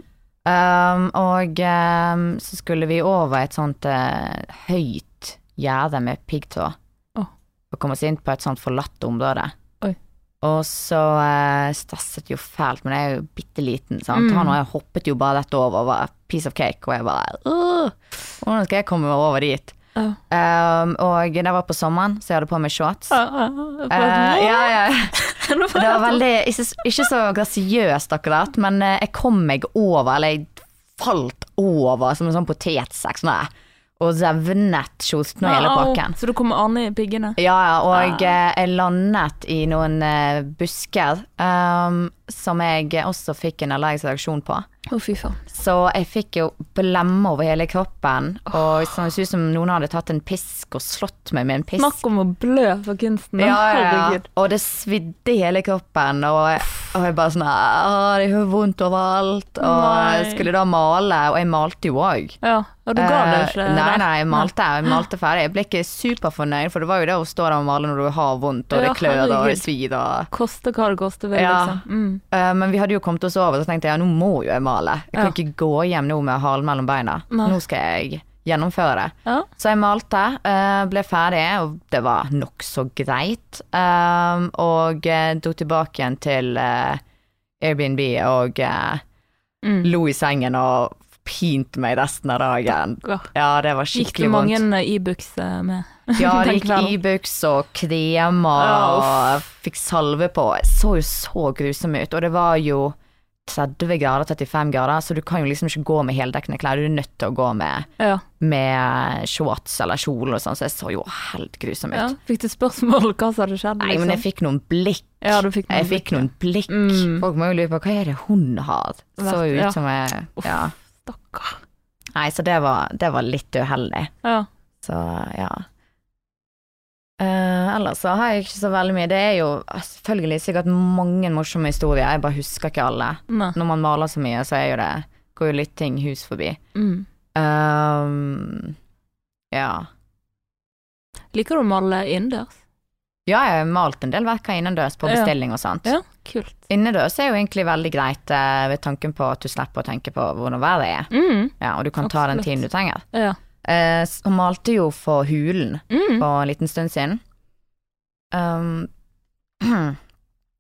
Ehm, og ehm, så skulle vi over et sånt eh, høyt gjerde med piggtå.
Åh.
Og komme oss inn på et sånt forlatt område.
Oi.
Og så eh, stasset jo fælt, men jeg er jo bitte liten. Sant?
Mm.
Han og jeg hoppet jo bare dette over og var piece of cake, og jeg bare «Åh, Hvordan skal jeg komme meg over dit?
Ja.
Ehm, og det var på sommeren, så jeg hadde på meg shorts.
Ja, ja, ja.
Eh, ja, ja.
Nå får
Det
jeg
var veldig, ikke, ikke så grasiøst akkurat, men eh, jeg kom meg over, eller jeg falt over som en sånn potetsekk, sånn der, og zevnet kjosten og hele pakken.
Så du kommer Arne i piggene?
Ja, ja, og eh, jeg landet i noen eh, busker, ehm, som jeg også fikk en allergisk reaksjon på.
Å, fy faen.
Så jeg fikk jo blemme over hele kroppen, og sånn det så ut som noen hadde tatt en pisk og slått meg med en pisk.
Snakk om å blø for kunsten. da. Herregud.
Og det svidde i hele kroppen, og jeg, og jeg bare sånn «Åh, Det gjør vondt overalt. Og jeg
Nei.
skulle da male, og jeg malte jo òg.
Ja, og du ga det ikke?
Eh, nei,
rett.
nei, jeg malte, jeg malte ferdig. Jeg ble ikke superfornøyd, for det var jo det å stå der og male når du har vondt, og
Ja,
det klør og det
herregud.
svir og
Koste hva det koste vil,
Ja.
liksom. Mm.
Eh, Men vi hadde jo kommet oss over, så tenkte jeg ja, nå må jo jeg male. Jeg kan
Ja.
ikke gå hjem nå med halen mellom beina.
Nei.
Nå skal jeg gjennomføre det.
Ja.
Så jeg malte, eh, ble ferdig, og det var nokså greit. Um, og eh, dro tilbake igjen til eh, Airbnb og eh,
Mm.
lo i sengen og pinte meg resten av dagen.
Ja.
Ja, det var
Gikk det
skikkelig
mange
vondt.
Ibux eh, med?
Ja, det
den
gikk
kvelden?
Ibux og kremer
Ja,
og fikk salve på. Jeg så jo så grusom ut, og det var jo 30 grader, 35 grader, så du kan jo liksom ikke gå med heldekkende klær. Du er nødt til å gå med
Ja.
med shorts eller kjole og sånn, så jeg så jo helt grusom ut.
ja. Fikk du spørsmål om hva som hadde skjedd? liksom?
Nei, men jeg fikk noen blikk.
Ja, du fikk noen
jeg fikk noen blikk.
Mm.
Folk må jo lure på hva er det hun har. Så
Vært-
ut
ja.
som jeg
Uff.
ja.
Stakkar.
Nei, så det var, det var litt uheldig.
Ja.
Så ja. Eh, ellers så har jeg ikke så veldig mye. Det er jo eh, selvfølgelig sikkert mange morsomme historier, jeg bare husker ikke alle.
Nei.
Når man maler så mye, så er jo det går jo litt ting hus forbi.
Mm.
Ehm, ja.
Liker du å male innendørs?
Ja, jeg har malt en del verker innendørs på
Ja.
bestilling og sånt.
Ja, kult.
Innendørs er jo egentlig veldig greit eh, ved tanken på at du slipper å tenke på hvordan været er,
Mm.
ja, og du kan ta den
Absolutt.
tiden du trenger.
Ja.
Eh, s- Hun malte jo for Hulen
Mm.
for en liten stund siden. Um,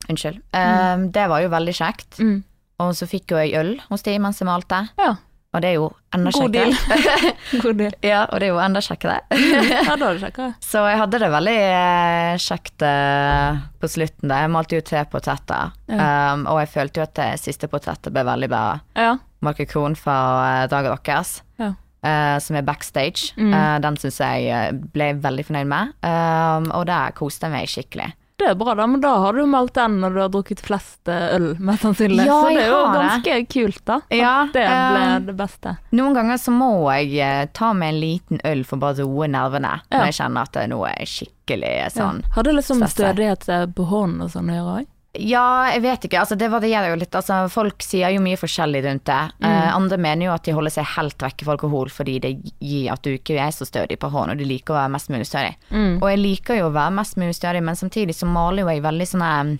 unnskyld. Um, det var jo veldig kjekt,
Mm.
og så fikk jo jeg øl hos de mens jeg malte.
Ja.
Og det er jo enda
God
kjekkere.
God deal.
ja, og det er jo enda kjekkere.
Ja, da er det kjekkere.
Så jeg hadde det veldig eh, kjekt eh, på slutten. da. Jeg malte jo tre portretter, um, og jeg følte jo at det siste portrettet ble veldig bra.
Ja.
Marke Krohn fra eh, Dag Rockers,
Ja.
eh, som er backstage.
Mm.
Eh, den syns jeg eh, ble veldig fornøyd med, um, og der koste jeg meg skikkelig.
Det er bra, da, men da har du meldt den når du har drukket flest eh, øl, mest sannsynlig.
Ja,
så det er jo
jeg har
ganske kult, da. at
Ja,
det ble
eh,
det beste.
Noen ganger så må jeg eh, ta meg en liten øl for bare å roe nervene,
Ja.
når jeg kjenner at det nå er jeg skikkelig sånn
Ja. Har det liksom
Stress her.
stødighet eh, på hånden og sånn å gjøre òg?
Ja, jeg vet ikke. Altså, det varierer jo litt. Altså, folk sier jo mye forskjellig rundt det.
Mm.
Eh, andre mener jo at de holder seg helt vekk fra alkohol fordi det gir at du ikke er så stødig på hånden, og du liker å være mest mulig stødig.
Mm.
Og jeg liker jo å være mest mulig stødig, men samtidig så maler jo jeg veldig sånn eh,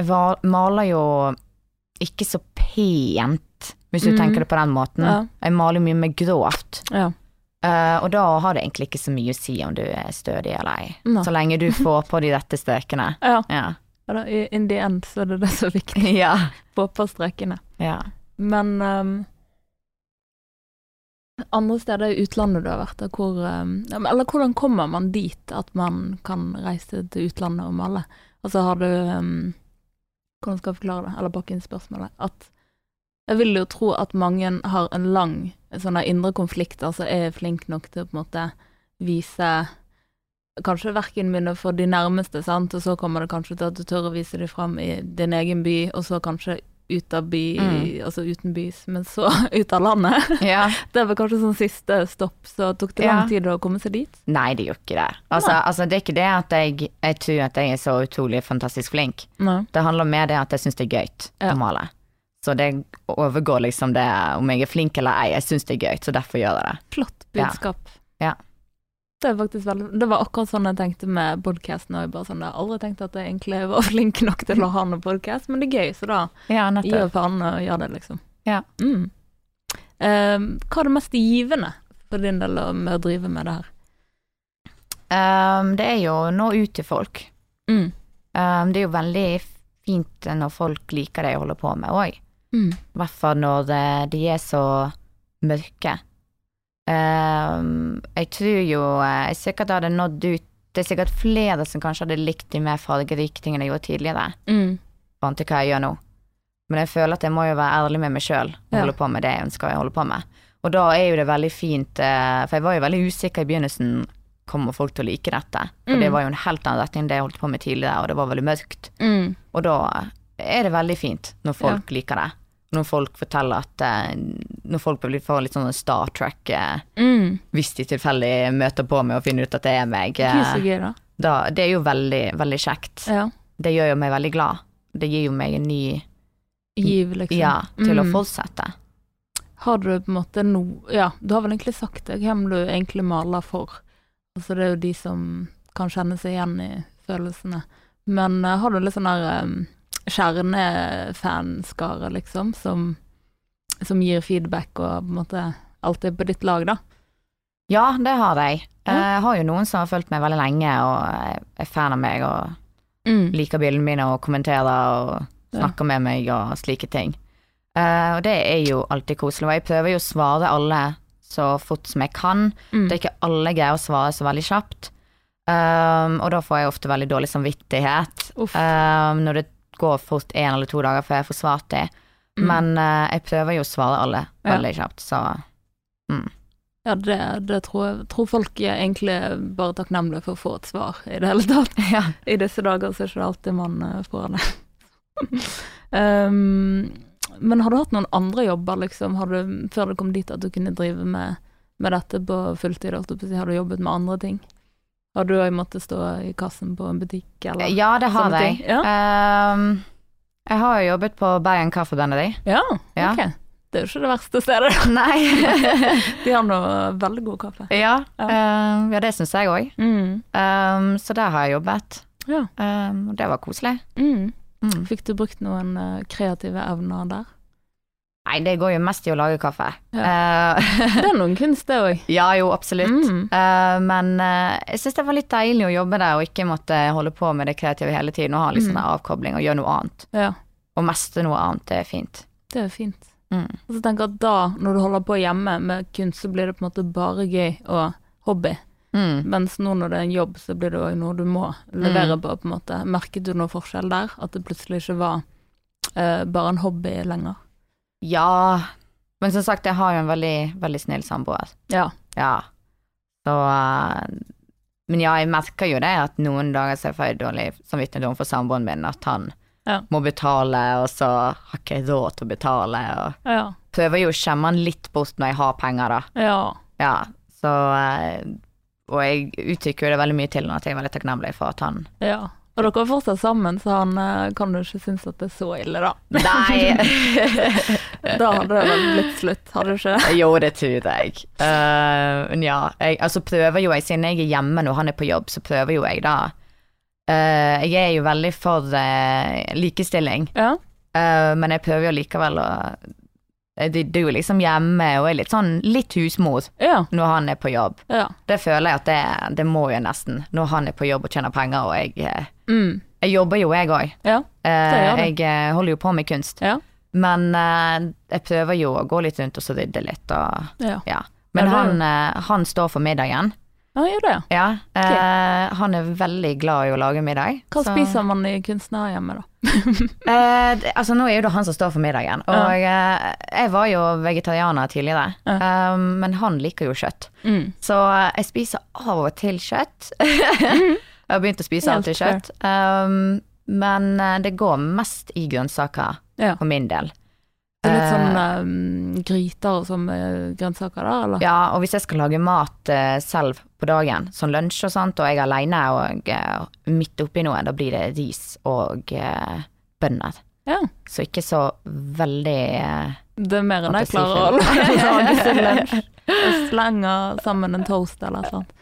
Jeg va- maler jo ikke så pent, hvis du
Mm.
tenker det på den måten.
Ja.
Jeg maler jo mye mer grovt.
Ja.
Eh, og da har det egentlig ikke så mye å si om du er stødig eller ei,
Nei.
så lenge du får på de rette strøkene.
Ja.
Ja.
ja da, i- In the end så er det det som er viktig.
ja.
Få på strekene.
Ja.
Men ehm, andre steder i utlandet du har vært, da, hvor, ehm, ja, men- eller hvordan kommer man dit at man kan reise til utlandet og male? Altså har du ehm, Hvordan skal jeg forklare det, eller bakke inn spørsmålet? At jeg vil jo tro at mange har en lang sånn der indre konflikt, altså er jeg flink nok til å på en måte vise kanskje verkene mine for de nærmeste, sant, og så kommer det kanskje til at du tør å vise dem fram i din egen by, og så kanskje ut av by,
Mm.
altså utenbys, men så ut av landet.
ja.
Det var kanskje sånn siste stopp, så tok det
Ja.
lang tid å komme seg dit.
Nei, det gjør ikke det. Altså, altså, det er ikke det at jeg, jeg tror at jeg er så utrolig fantastisk flink.
Nei.
Det handler mer det at jeg syns det er gøy
Ja.
å male. Så det overgår liksom det om jeg er flink eller ei. Jeg syns det er gøy, så derfor gjør jeg det.
Flott budskap.
Ja.
Det, er faktisk veldig, det var akkurat sånn jeg tenkte med podkasten. Jeg bare sånn, jeg har aldri tenkt at jeg egentlig var flink nok til å ha noen podkast, men det er gøy, så da
Ja,
gir
nettopp.
jeg faen og gjør det, liksom.
Ja.
Mm. Eh, hva er det mest givende for din del å- med å drive med det her?
Ehm, det er jo å nå ut til folk.
Mm.
Ehm, det er jo veldig fint når folk liker det jeg holder på med òg.
Mm.
I hvert fall når eh, de er så mørke. Ehm, jeg tror jo eh, jeg sikkert hadde nådd ut Det er sikkert flere som kanskje hadde likt de mer fargerike tingene jeg gjorde tidligere.
Mm.
fant til hva jeg gjør nå. Men jeg føler at jeg må jo være ærlig med meg sjøl og
Ja.
holde på med det jeg ønsker å holde på med. Og da er jo det veldig fint, eh, for jeg var jo veldig usikker i begynnelsen. Kommer folk til å like dette? For
Mm.
det var jo en helt annen retning enn det jeg holdt på med tidligere, og det var veldig mørkt.
Mm.
Og da er det veldig fint når folk liker det. Når folk forteller at eh, Når folk blir- får litt sånn Star Trek eh,
Mm.
hvis de tilfeldig møter på meg og finner ut at det er meg. eh,
Gud, så gøy, da.
da, det er jo veldig, veldig kjekt.
Ja.
Det gjør jo meg veldig glad. Det gir jo meg en ny
Giv, liksom.
ja, til å
Mm.
fortsette.
Har du på en måte no... Ja, du har vel egentlig sagt det, hvem du egentlig maler for. Altså det er jo de som kan kjenne seg igjen i følelsene. Men eh, har du litt sånn der um, kjernefanskare, liksom, som, som gir feedback og på en måte alltid er på ditt lag, da?
Ja, det har jeg.
Ja.
Eh, Jeg har jo noen som har fulgt meg veldig lenge og er fan av meg og liker bildene mine og kommenterer og
Ja.
snakker med meg og slike ting. Eh, Og det er jo alltid koselig. Og jeg prøver jo å svare alle så fort som jeg kan.
Mm.
Det er ikke alle greier å svare så veldig kjapt. Um, og da får jeg ofte veldig dårlig samvittighet
Uff.
um, når det går fort én eller to dager før jeg får svart det.
Mm.
Men eh, jeg prøver jo å svare alle
Ja.
veldig kjapt, så
Ja, det, det tror jeg tror folk er egentlig bare takknemlige for å få et svar i det hele tatt.
ja.
I disse dager så er det ikke alltid man eh, får det. um, men har du hatt noen andre jobber, liksom? Har du, før du kom dit at du kunne drive med, med dette på fulltid, holdt jeg på å si, har du jobbet med andre ting? Har du òg måttet stå i kassen på en butikk, eller?
ja, det har
sånne
jeg.
ting? Ja.
Um, jeg har jo jobbet på Bergen Kaffe Benedi.
Ja,
Ja.
ok. Det er jo ikke det verste stedet.
Nei.
De har nå veldig god kaffe.
ja.
Ja.
Um, ja, det syns jeg òg.
Mm.
Um, så der har jeg jobbet.
Ja.
Um, og det var koselig.
Mm.
Mm.
Fikk du brukt noen eh, kreative evner der?
Nei, det går jo mest i å lage kaffe. Uh,
Det er noen kunst, det òg.
ja jo, absolutt.
Mm.
Eh, men eh, jeg syns det var litt deilig å jobbe der og ikke måtte holde på med det kreative hele tiden og ha litt
Mm.
sånn avkobling og gjøre noe annet.
Ja,
Og mestre noe annet, det er fint.
det er jo fint.
Mm.
Og så tenker jeg at da, når du holder på hjemme med kunst, så blir det på en måte bare gøy og hobby.
Mm.
Mens nå når det er en jobb, så blir det òg noe du må levere på, på en måte. Merket du noe forskjell der? At det plutselig ikke var eh, bare en hobby lenger?
Ja, men som sagt, jeg har jo en veldig, veldig snill samboer.
Ja.
Ja. Så eh, Men ja, jeg merker jo det at noen dager så får jeg dårlig samvittighet overfor samboeren min, at han
Ja.
må betale, og så har ikke jeg råd til å betale, og
Ja.
prøver jo å skjemme han litt bort når jeg har penger, da.
ja.
Ja, så eh, Og jeg uttrykker jo det veldig mye til han at jeg er veldig takknemlig for at han
ja. Og dere er fortsatt sammen, så han eh, kan jo ikke synes at det er så ille, da.
Nei!
Da hadde det vel blitt slutt, hadde det ikke?
jo, det tror jeg. Eh, Men ja. Jeg, altså prøver jo jeg, siden jeg er hjemme når han er på jobb, så prøver jo jeg da. Eh, jeg er jo veldig for eh, likestilling,
Ja.
eh, men jeg prøver jo likevel å Jeg er jo liksom hjemme og er litt sånn litt husmor
Ja.
når han er på jobb.
ja.
Det føler jeg at det, det må jeg nesten, når han er på jobb og tjener penger og jeg eh,
Mm.
Jeg jobber jo, jeg òg.
Ja. gjør
Jeg
du.
eh, holder jo på med kunst.
Ja.
Men eh, jeg prøver jo å gå litt rundt og så rydde litt og
Ja.
ja.
Ja,
Men
det er
han, eh, han står for middagen.
ja gjør det, ja.
Ja. Eh, han er veldig glad i å lage middag.
Hva
så-
spiser man i kunstnerhjemmet, da?
Eh, det- altså nå er jo det han som står for middagen. Og
Ja.
eh, jeg var jo vegetarianer tidligere, eh, men han liker jo kjøtt.
Mm.
Så eh, jeg spiser av og til kjøtt.
Mm.
jeg har begynt å spise av og til
Helt fair.
kjøtt. Um, men eh, det går mest i grønnsaker,
Ja.
for min del.
Det er litt sånn eh, gryter og sånn med grønnsaker der, eller?
Ja, og hvis jeg skal lage mat eh, selv på dagen, sånn lunsj og sånt, og jeg er aleine og eh, midt oppi noe, da blir det ris og eh, bønner.
Ja.
Så ikke så veldig eh,
Det er mer enn jeg
Appelsinfilm.
klarer å holde dagen til lunsj. Jeg slenger sammen en toast eller et eller annet.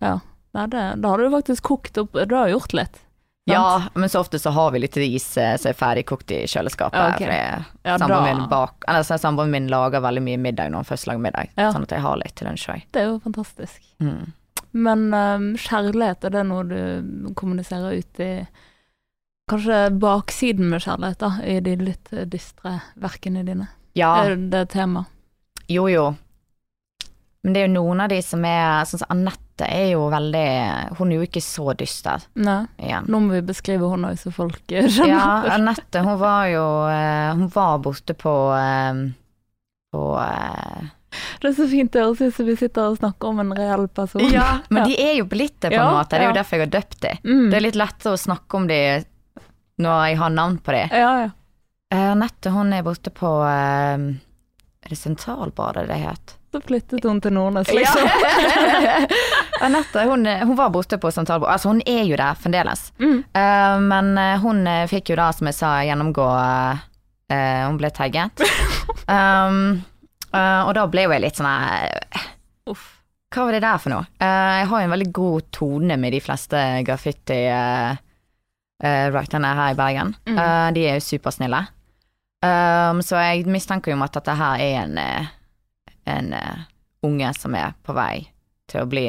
Ja.
Nei, det, da har du faktisk kokt opp Du har gjort litt. sant?
ja, men så ofte så har vi litt ris eh, som er ferdigkokt i kjøleskapet.
Ja, ok.
For jeg,
Ja, da-
samboeren, min bak, eller, så samboeren min lager veldig mye middag når han først lager middag,
Ja.
sånn at jeg har litt til lunsj òg.
Det er jo fantastisk.
Mm.
Men eh, kjærlighet, er det noe du kommuniserer ut i Kanskje baksiden med kjærlighet, da, i de litt dystre verkene dine.
Ja,
Er det et tema?
jo jo. Men det er jo noen av de som er Sånn som Anette er jo veldig Hun er jo ikke så dyster
Nei.
igjen.
Nå må vi beskrive hun òg, så folk eh, skjønner.
Ja, Anette hun var jo eh, Hun var borte på eh, På eh,
Det er så fint det høres ut som vi sitter og snakker om en reell person.
Men de er jo blitt det, på en
Ja,
måte. Det er jo
ja.
derfor jeg har døpt de.
Mm.
Det er litt lettere å snakke om de når jeg har navn på de.
ja, ja.
Eh, Anette hun er borte på eh, Er det Sentralbadet det het?
Så flyttet hun til Nordnes, liksom.
Anette hun, eh, hun var borte på Sentralbadet. Altså, hun er jo der fremdeles.
Mm.
Eh, men eh, hun eh, fikk jo da, som jeg sa, gjennomgå eh, eh, Hun ble tagget. Um, eh, og da ble jo jeg litt sånn eh,
Uff.
Hva var det der for noe? Eh, jeg har jo en veldig god tone med de fleste graffiti-writerne her i Bergen.
Mm.
Eh, de er jo supersnille. Um, så jeg mistenker jo om at dette her er en, eh, en eh, unge som er på vei til å bli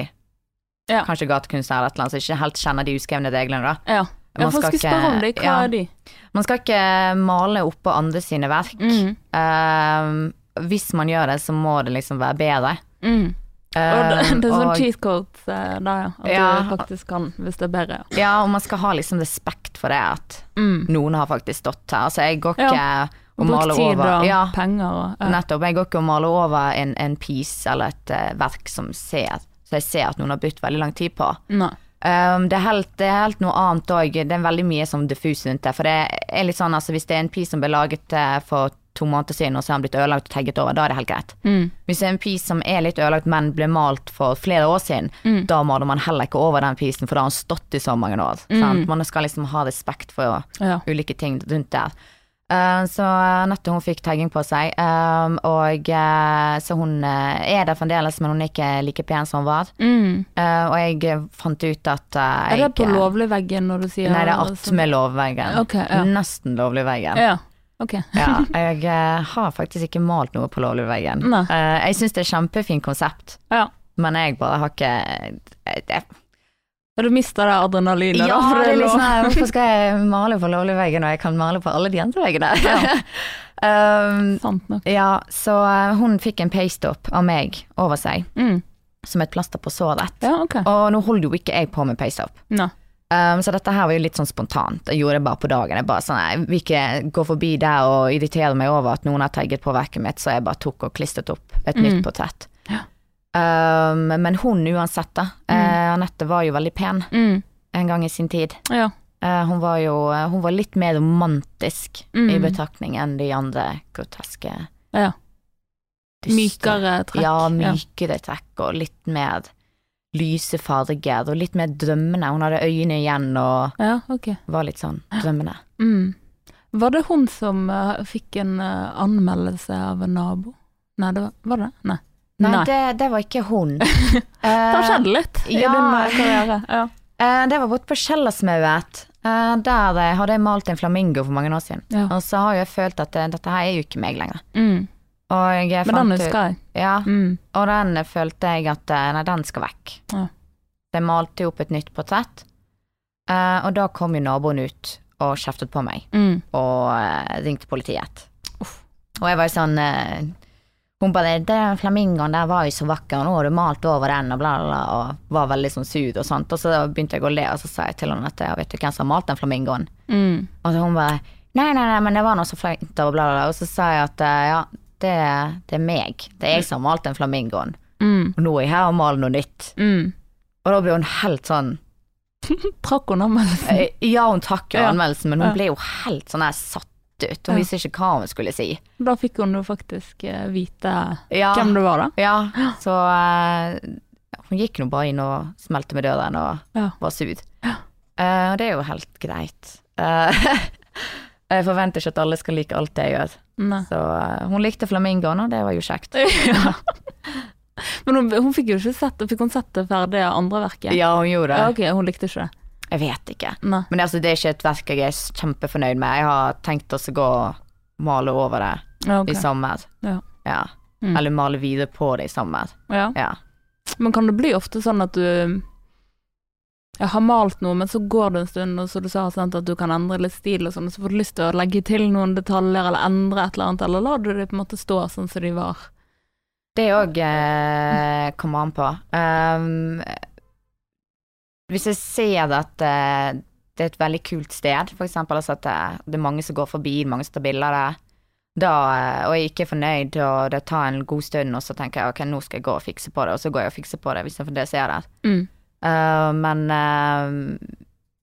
Ja.
kanskje gatekunstner eller et eller annet, som ikke helt kjenner de uskrevne reglene, da.
Ja. Jeg
Man
får
skal
skulle spørre om det.
ikke-
Hva
ja.
er de?
Man skal ikke male oppå andre sine verk.
Mm.
Um, hvis man gjør det, så må det liksom være bedre.
Mm. Og det,
Um,
det er sånn
og-
cheat codes eh, der, ja. At
Ja.
du faktisk kan, hvis det er bedre. ja.
Ja, og man skal ha liksom respekt for det at
Mm.
noen har faktisk stått her. Altså, jeg går ikke og
Bruk
maler
tid
over
og
ja,
penger og ja.
nettopp. Jeg går ikke og maler over en, en piece eller et eh, verk som ser Så jeg ser at noen har brukt veldig lang tid på.
Nei.
Um, det, er helt, det er helt noe annet òg. Det er veldig mye som diffus rundt det. For det er litt sånn, altså, hvis det er en piece som ble laget eh, for to måneder siden, og så har den blitt ødelagt og tagget over, da er det helt greit.
Mm.
Hvis det er en piece som er litt ødelagt, men ble malt for flere år siden, da maler man heller ikke over den piecen, for da har den stått i så mange år. Sant? Man skal liksom ha respekt for
Ja.
ulike ting rundt der. Eh, så Anette hun fikk tagging på seg, eh, og eh, så hun eh, er der fremdeles, men hun er ikke like pen som hun var.
Mm.
Eh, og jeg eh, fant ut at eh,
Er det på
jeg,
lovlig veggen når du sier
Nei, det er attmed lovveggen.
Ok, ja.
Nesten lovligveggen.
Ja. Ok.
Ja, jeg eh, har faktisk ikke malt noe på lovligveggen.
Nei.
Eh, jeg syns det er kjempefint konsept,
Ja.
men jeg bare har ikke eh, jeg, jeg,
Ja, Du mister det adrenalinet, da.
Ja,
for
det er litt
lov.
sånn her, hvorfor skal jeg male på lovligveggen når jeg kan male på alle de andre veggene? um,
Sant nok.
ja, så eh, hun fikk en paste-up av meg over seg,
Mm.
som et plaster på såret.
Ja, ok.
Og nå holder jo ikke jeg på med paste-up.
Nei.
Um, så dette her var jo litt sånn spontant. Jeg gjorde det bare på dagen. Jeg bare sånn, jeg vil ikke gå forbi der og irritere meg over at noen har tagget på verket mitt, så jeg bare tok og klistret opp et nytt portrett.
Mm. Ja.
Um, men hun uansett, da. eh, Anette var jo veldig pen
Mm.
en gang i sin tid.
Ja.
Eh, hun var jo hun var litt mer romantisk i
Mm.
betraktning enn de andre groteske
ja.
dyste-
Mykere trekk.
Ja, mykere trekk og litt mer lyse farger og litt mer drømmende. Hun hadde øyne igjen og
Ja, ja ok.
var litt sånn drømmende.
Mm. Var det hun som eh, fikk en eh, anmeldelse av en nabo? Nei, det var, var det? Nei.
Nei, Det, det var ikke hun. Eh,
Det har skjedd litt i
ja.
din eh, karriere. Ja.
Eh, det var borte på Kjellersmauet. Eh, der eh, hadde jeg malt en flamingo for mange år siden.
Ja.
Og så har jo jeg følt at eh, dette her er jo ikke meg lenger.
Mm.
Og jeg
Men den
fant ut
husker jeg.
ja,
Mm.
Og den følte jeg at eh, nei, den skal vekk.
Ja.
Jeg malte jo opp et nytt portrett, eh, og da kom jo naboen ut og kjeftet på meg.
Mm.
og eh, ringte politiet.
Uff.
Og jeg var jo sånn eh, Hun bare 'Den flamingoen der var jo så vakker, nå har du malt over den', og bla, bla, bla, og var veldig sånn sur og sånt. Og så begynte jeg å le, og så sa jeg til henne at jeg vet du hvem som har malt den flamingoen?
Mm.
Og så hun bare 'Nei, nei, nei, men det var noe så flaut', og bla, bla, bla. Og så sa jeg at eh, ja, det, det er meg. Det er jeg som har malt den flamingoen.
Mm.
Og nå er jeg her og maler noe nytt.
Mm.
Og da ble hun helt sånn
Trakk hun anmeldelsen?
Eh, Ja, hun trakk jo
Ja.
anmeldelsen, men hun
Ja.
ble jo helt sånn her satt ut. Hun
Ja.
visste ikke hva hun skulle si.
Da fikk hun jo faktisk eh, vite
Ja.
hvem det var, da.
Ja, så eh, hun gikk nå bare inn og smelte med døren og
Ja.
var sur. Eh, og det er jo helt greit. Eh, jeg forventer ikke at alle skal like alt det jeg gjør.
Nei.
Så eh, hun likte flamingoen, og det var jo kjekt.
Ja. Men hun, hun fikk jo ikke sett Fikk hun sett det ferdige andre verket?
Ja, hun gjorde
Ja,
det.
ok, hun likte ikke det.
Jeg vet ikke.
Nei.
Men altså, det er ikke et verk jeg er s- kjempefornøyd med. Jeg har tenkt å så gå og male over det
Ja, ok.
i sommer.
Ja.
Ja.
Mm.
Eller male videre på det i sommer.
Ja.
Ja.
Men kan det bli ofte sånn at du jeg har malt noe, men så går det en stund, og så du sa sant, at du kan endre litt stil og sånn, og så får du lyst til å legge til noen detaljer eller endre et eller annet, eller lar du det på en måte stå sånn som de var?
Det òg eh, kommer an på. Um, hvis jeg ser at eh, det er et veldig kult sted, for eksempel altså at det, det er mange som går forbi, mange som tar bilder av det, da, eh, og jeg ikke er fornøyd, og det tar en god stund, og så tenker jeg ok, nå skal jeg gå og fikse på det, og så går jeg og fikser på det hvis jeg for det ser det.
Mm.
Eh, men eh,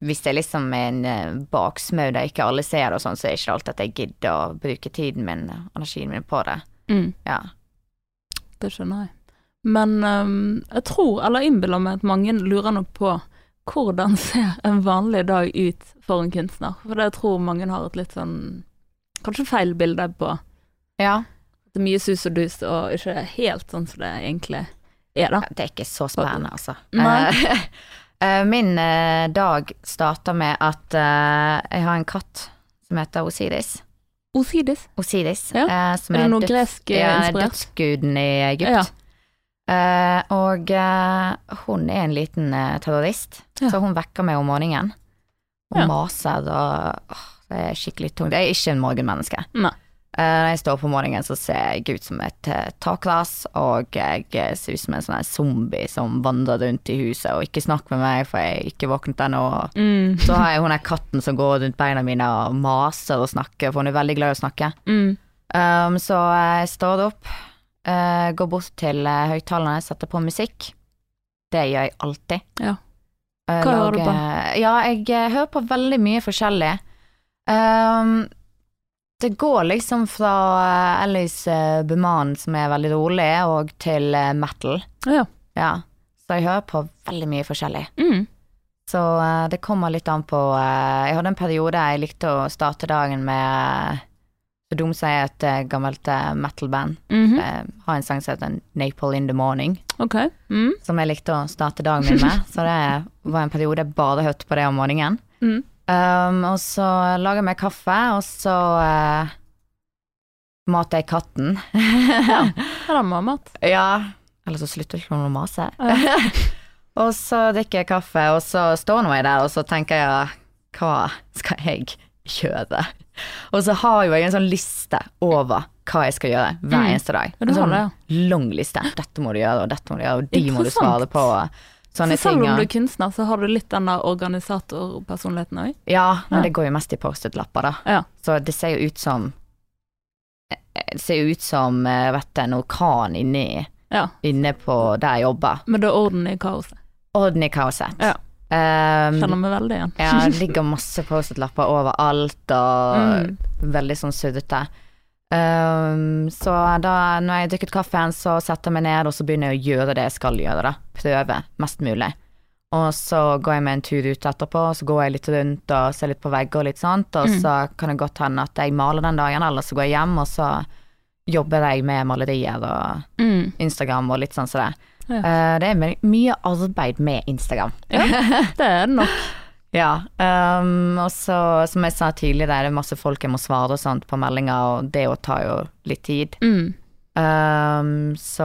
hvis det er liksom en eh, baksmau der ikke alle ser det, og sånn, så er det ikke alltid at jeg gidder å bruke tiden min, energien min på det.
Mm.
Ja.
Det skjønner jeg. Men ehm, jeg tror, eller innbiller meg, at mange lurer nok på hvordan ser en vanlig dag ut for en kunstner? For det jeg tror mange har et litt sånn Kanskje feil bilde på.
ja.
Det er mye sus og dus og ikke helt sånn som det egentlig er, da.
Ja, det er ikke så spennende, altså.
Nei.
Eh, eh, Min eh, dag starter med at eh, jeg har en katt som heter Osiris.
Osidis.
Osiris,
Ja.
eh, som
Er det noe
døds-
gresk, eh,
ja,
inspirert?
dødsguden i Egypt.
Ja.
Eh, og eh, hun er en liten eh, terrorist,
Ja.
så hun vekker meg om morgenen. Hun
Ja.
maser, og åh, det er skikkelig tungt. Jeg er ikke en morgenmenneske.
Nei.
Eh, når jeg står opp om morgenen, så ser jeg ut som et uh, takras, og jeg eh, ser ut som en sånn her zombie som vandrer rundt i huset, og ikke snakk med meg, for jeg er ikke våknet ennå.
Mm.
Så har jeg hun der katten som går rundt beina mine og maser og snakker, for hun er veldig glad i å snakke.
Mm.
Um, så jeg står opp, eh, går bort til uh, høyttalerne, setter på musikk. Det gjør jeg alltid.
Ja.
Eh,
Hva hører du
lager- Ja, jeg eh, hører på veldig mye forskjellig. Um, det går liksom fra eh, Alice uh, Beman, som er veldig rolig, og til eh, metal.
Ja.
Ja. Så jeg hører på veldig mye forskjellig.
Mm.
Så eh, det kommer litt an på eh, Jeg hadde en periode jeg likte å starte dagen med eh, Så dum som jeg er et eh, gammelt eh, metal-band.
Mhm.
Eh, har en sang som heter Napole in the Morning,
Ok. Mm.
som jeg likte å starte dagen min med. Så det var en periode jeg bare hørte på det om morgenen.
Mm.
Um, og så lager jeg meg kaffe, og så eh, mater jeg katten.
Her er mamma.
Ja. Eller så slutter ikke hun å mase. og så drikker jeg kaffe, og så står nå jeg der, og så tenker jeg hva skal jeg gjøre? Og så har jo jeg en sånn liste over hva jeg skal gjøre hver
Mm.
eneste dag.
Ja, du
En
har
sånn
det,
lang liste. Dette må du gjøre, og dette må du gjøre, og de må du
Interessant.
svare på. og
Så
Sånne
selv
ting.
om du
og-
er kunstner, så har du litt den der organisatorpersonligheten òg?
Ja, men
Ja.
det går jo mest i Post-It-lapper, da.
Ja.
Så det ser jo ut som eh, Det ser jo ut som eh, vet du, en orkan inni,
Ja.
inne på der jeg jobber.
Men det er orden i kaoset.
Orden i kaoset.
Ja.
Um,
Kjenner meg veldig igjen.
ja, det ligger masse Post-It-lapper overalt, og
Mm.
veldig sånn suddete. Um, så da når jeg har drukket kaffen, så setter jeg meg ned, og så begynner jeg å gjøre det jeg skal gjøre, da. Prøve mest mulig. Og så går jeg med en tur ut etterpå, og så går jeg litt rundt og ser litt på vegger og litt sånt, og
Mm.
så kan det godt hende at jeg maler den dagen, eller så går jeg hjem, og så jobber jeg med malerier og
Mm.
Instagram og litt sånn som det.
Ja.
Eh, det er my- mye arbeid med Instagram.
Det er det nok.
Ja, ehm, og så som jeg sa tidligere, det er masse folk jeg må svare og sånt på meldinger, og det å ta jo litt tid.
Mm.
Ehm, så,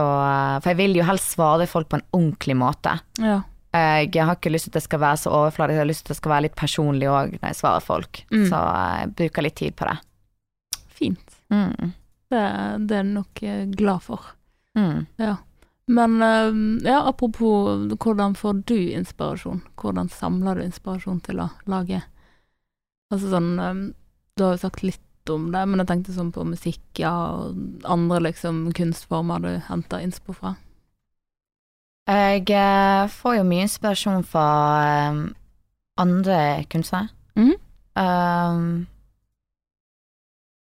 eh, for jeg vil jo helst svare folk på en ordentlig måte.
Ja.
Eh, Jeg har ikke lyst til at det skal være så overfladisk, jeg har lyst til at det skal være litt personlig òg når jeg svarer folk.
Mm.
Så eh, jeg bruker litt tid på det.
Fint.
Mm.
Det, det er jeg nok eh, glad for.
Mm.
Men eh, ja, apropos hvordan får du inspirasjon? Hvordan samler du inspirasjon til å lage? Altså sånn eh, Du har jo sagt litt om det, men jeg tenkte sånn på musikk, ja, og andre liksom kunstformer du henter innspo fra.
Jeg eh, får jo mye inspirasjon fra eh, andre kunstnere.
Mhm.
Um,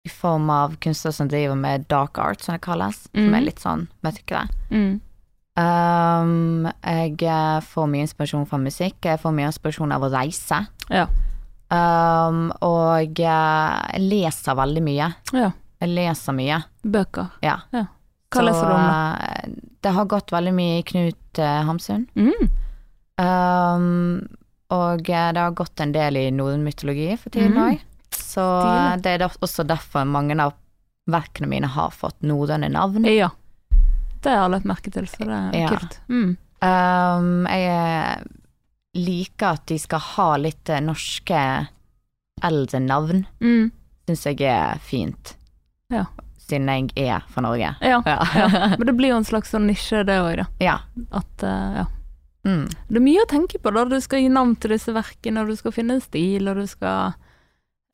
I form av kunstnere som driver med dark art, som det kalles.
Mhm.
Som er litt sånn mørkere.
Mm.
Um, jeg eh, får mye inspirasjon fra musikk. Jeg får mye inspirasjon av å reise.
Ja.
Um, og eh, jeg leser veldig mye.
Ja.
Jeg leser mye.
Bøker.
Ja.
Hva leser du om da?
om? Det har gått veldig mye i Knut eh, Hamsun.
Mm.
Um, og eh, det har gått en del i norrøn mytologi for tiden
Mhm.
òg. Så eh, det er da- også derfor mange av verkene mine har fått norrøne navn.
Ja. Det har jeg lagt merke til, så det er
Ja.
kult. Mm.
Um, jeg eh, liker at de skal ha litt eh, norske eldrenavn.
Mm.
Syns jeg er fint.
Ja.
Siden jeg er fra Norge.
Ja.
Ja.
Men det blir jo en slags sånn nisje, det òg, da.
ja.
At, eh, ja.
Mm.
Det er mye å tenke på da. Du skal gi navn til disse verkene, og du skal finne en stil, og du skal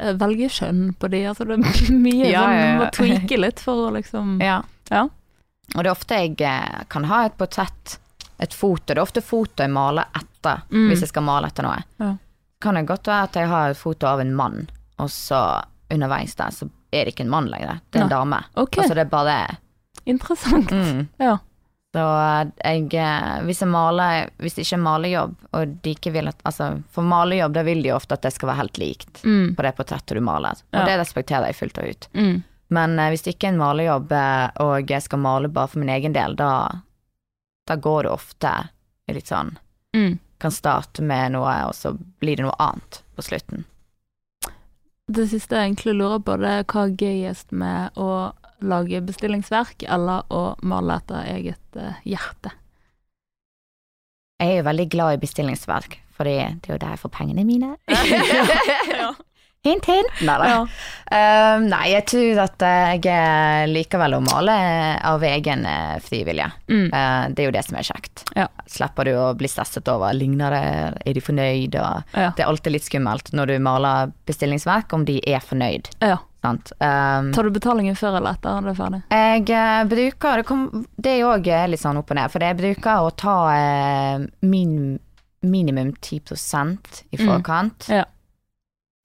eh, velge kjønn på de. Altså det er mye
Ja,
sånn,
ja,
du
ja.
må tweake litt for å liksom
ja.
Ja.
Og det er ofte jeg eh, kan ha et portrett, et foto. Det er ofte foto jeg maler etter,
Mm.
hvis jeg skal male etter noe.
Ja.
Kan det godt være at jeg har et foto av en mann, og så underveis der, så er det ikke en mann lenger. Det er en
Nei.
dame.
Ok,
Altså det er bare
interessant.
mm.
Ja.
Så eh, jeg, eh, hvis jeg maler, hvis det ikke er malejobb, og de ikke vil at, altså for malejobb, da vil de jo ofte at det skal være helt likt
Mm.
på det portrettet du maler. Og
Ja.
det respekterer jeg fullt og ut.
Mm.
Men eh, hvis det ikke er en malejobb, eh, og jeg skal male bare for min egen del, da, da går det ofte litt sånn
Mm.
Kan starte med noe, og så blir det noe annet på slutten.
Det siste jeg egentlig lurer på, det er hva er gøyest med å lage bestillingsverk, eller å male etter eget eh, hjerte.
Jeg er jo veldig glad i bestillingsverk, fordi det er jo der jeg får pengene mine.
ja.
Hint, hint! Nei da.
Ja.
Um, nei, jeg tror at eh, jeg liker vel å male av egen eh, frivillige.
Mm.
Eh, det er jo det som er kjekt.
Ja.
Slipper du å bli stresset over ligner det, er de fornøyd, og
Ja.
Det er alltid litt skummelt når du maler bestillingsverk, om de er fornøyd.
ja.
Sant? Um,
Tar du betalingen før eller etter når det er ferdig?
jeg eh, bruker Det, kom, det er òg litt sånn opp og ned, for jeg bruker å ta eh, min, minimum 10 i
Mm.
forkant.
Ja.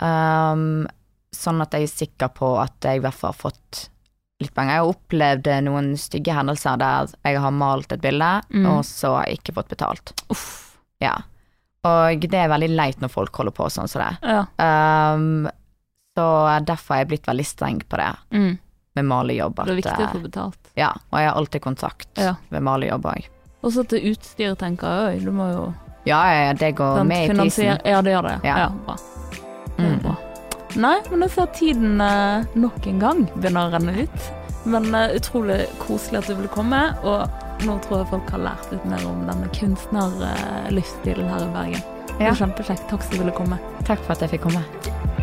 Um, sånn at jeg er sikker på at jeg i hvert fall har fått litt penger. Jeg har opplevd eh, noen stygge hendelser der jeg har malt et bilde,
Mm.
og så har jeg ikke fått betalt.
Uff.
Ja. Og det er veldig leit når folk holder på sånn som det.
Ja.
Um, så derfor har jeg blitt veldig streng på det
Mm.
med malejobb.
Det er
at,
viktig å
eh,
få betalt.
Ja, og jeg har alltid kontakt
Ja.
med malejobb òg.
Også til utstyr, tenker jeg òg. Du må jo
Ja, ja, ja, det går
sant,
med i prisen.
finansiere Ja, det gjør det. Ja,
Ja.
bra. Det er
Mm.
bra. Nei, men jeg ser tiden eh, nok en gang begynner å renne ut. Men eh, utrolig koselig at du ville komme, og nå tror jeg folk har lært litt mer om denne kunstnerlivsstilen her i Bergen. Det
Ja.
var kjempekjekt. Takk skal du ville komme.
Takk for at jeg fikk komme.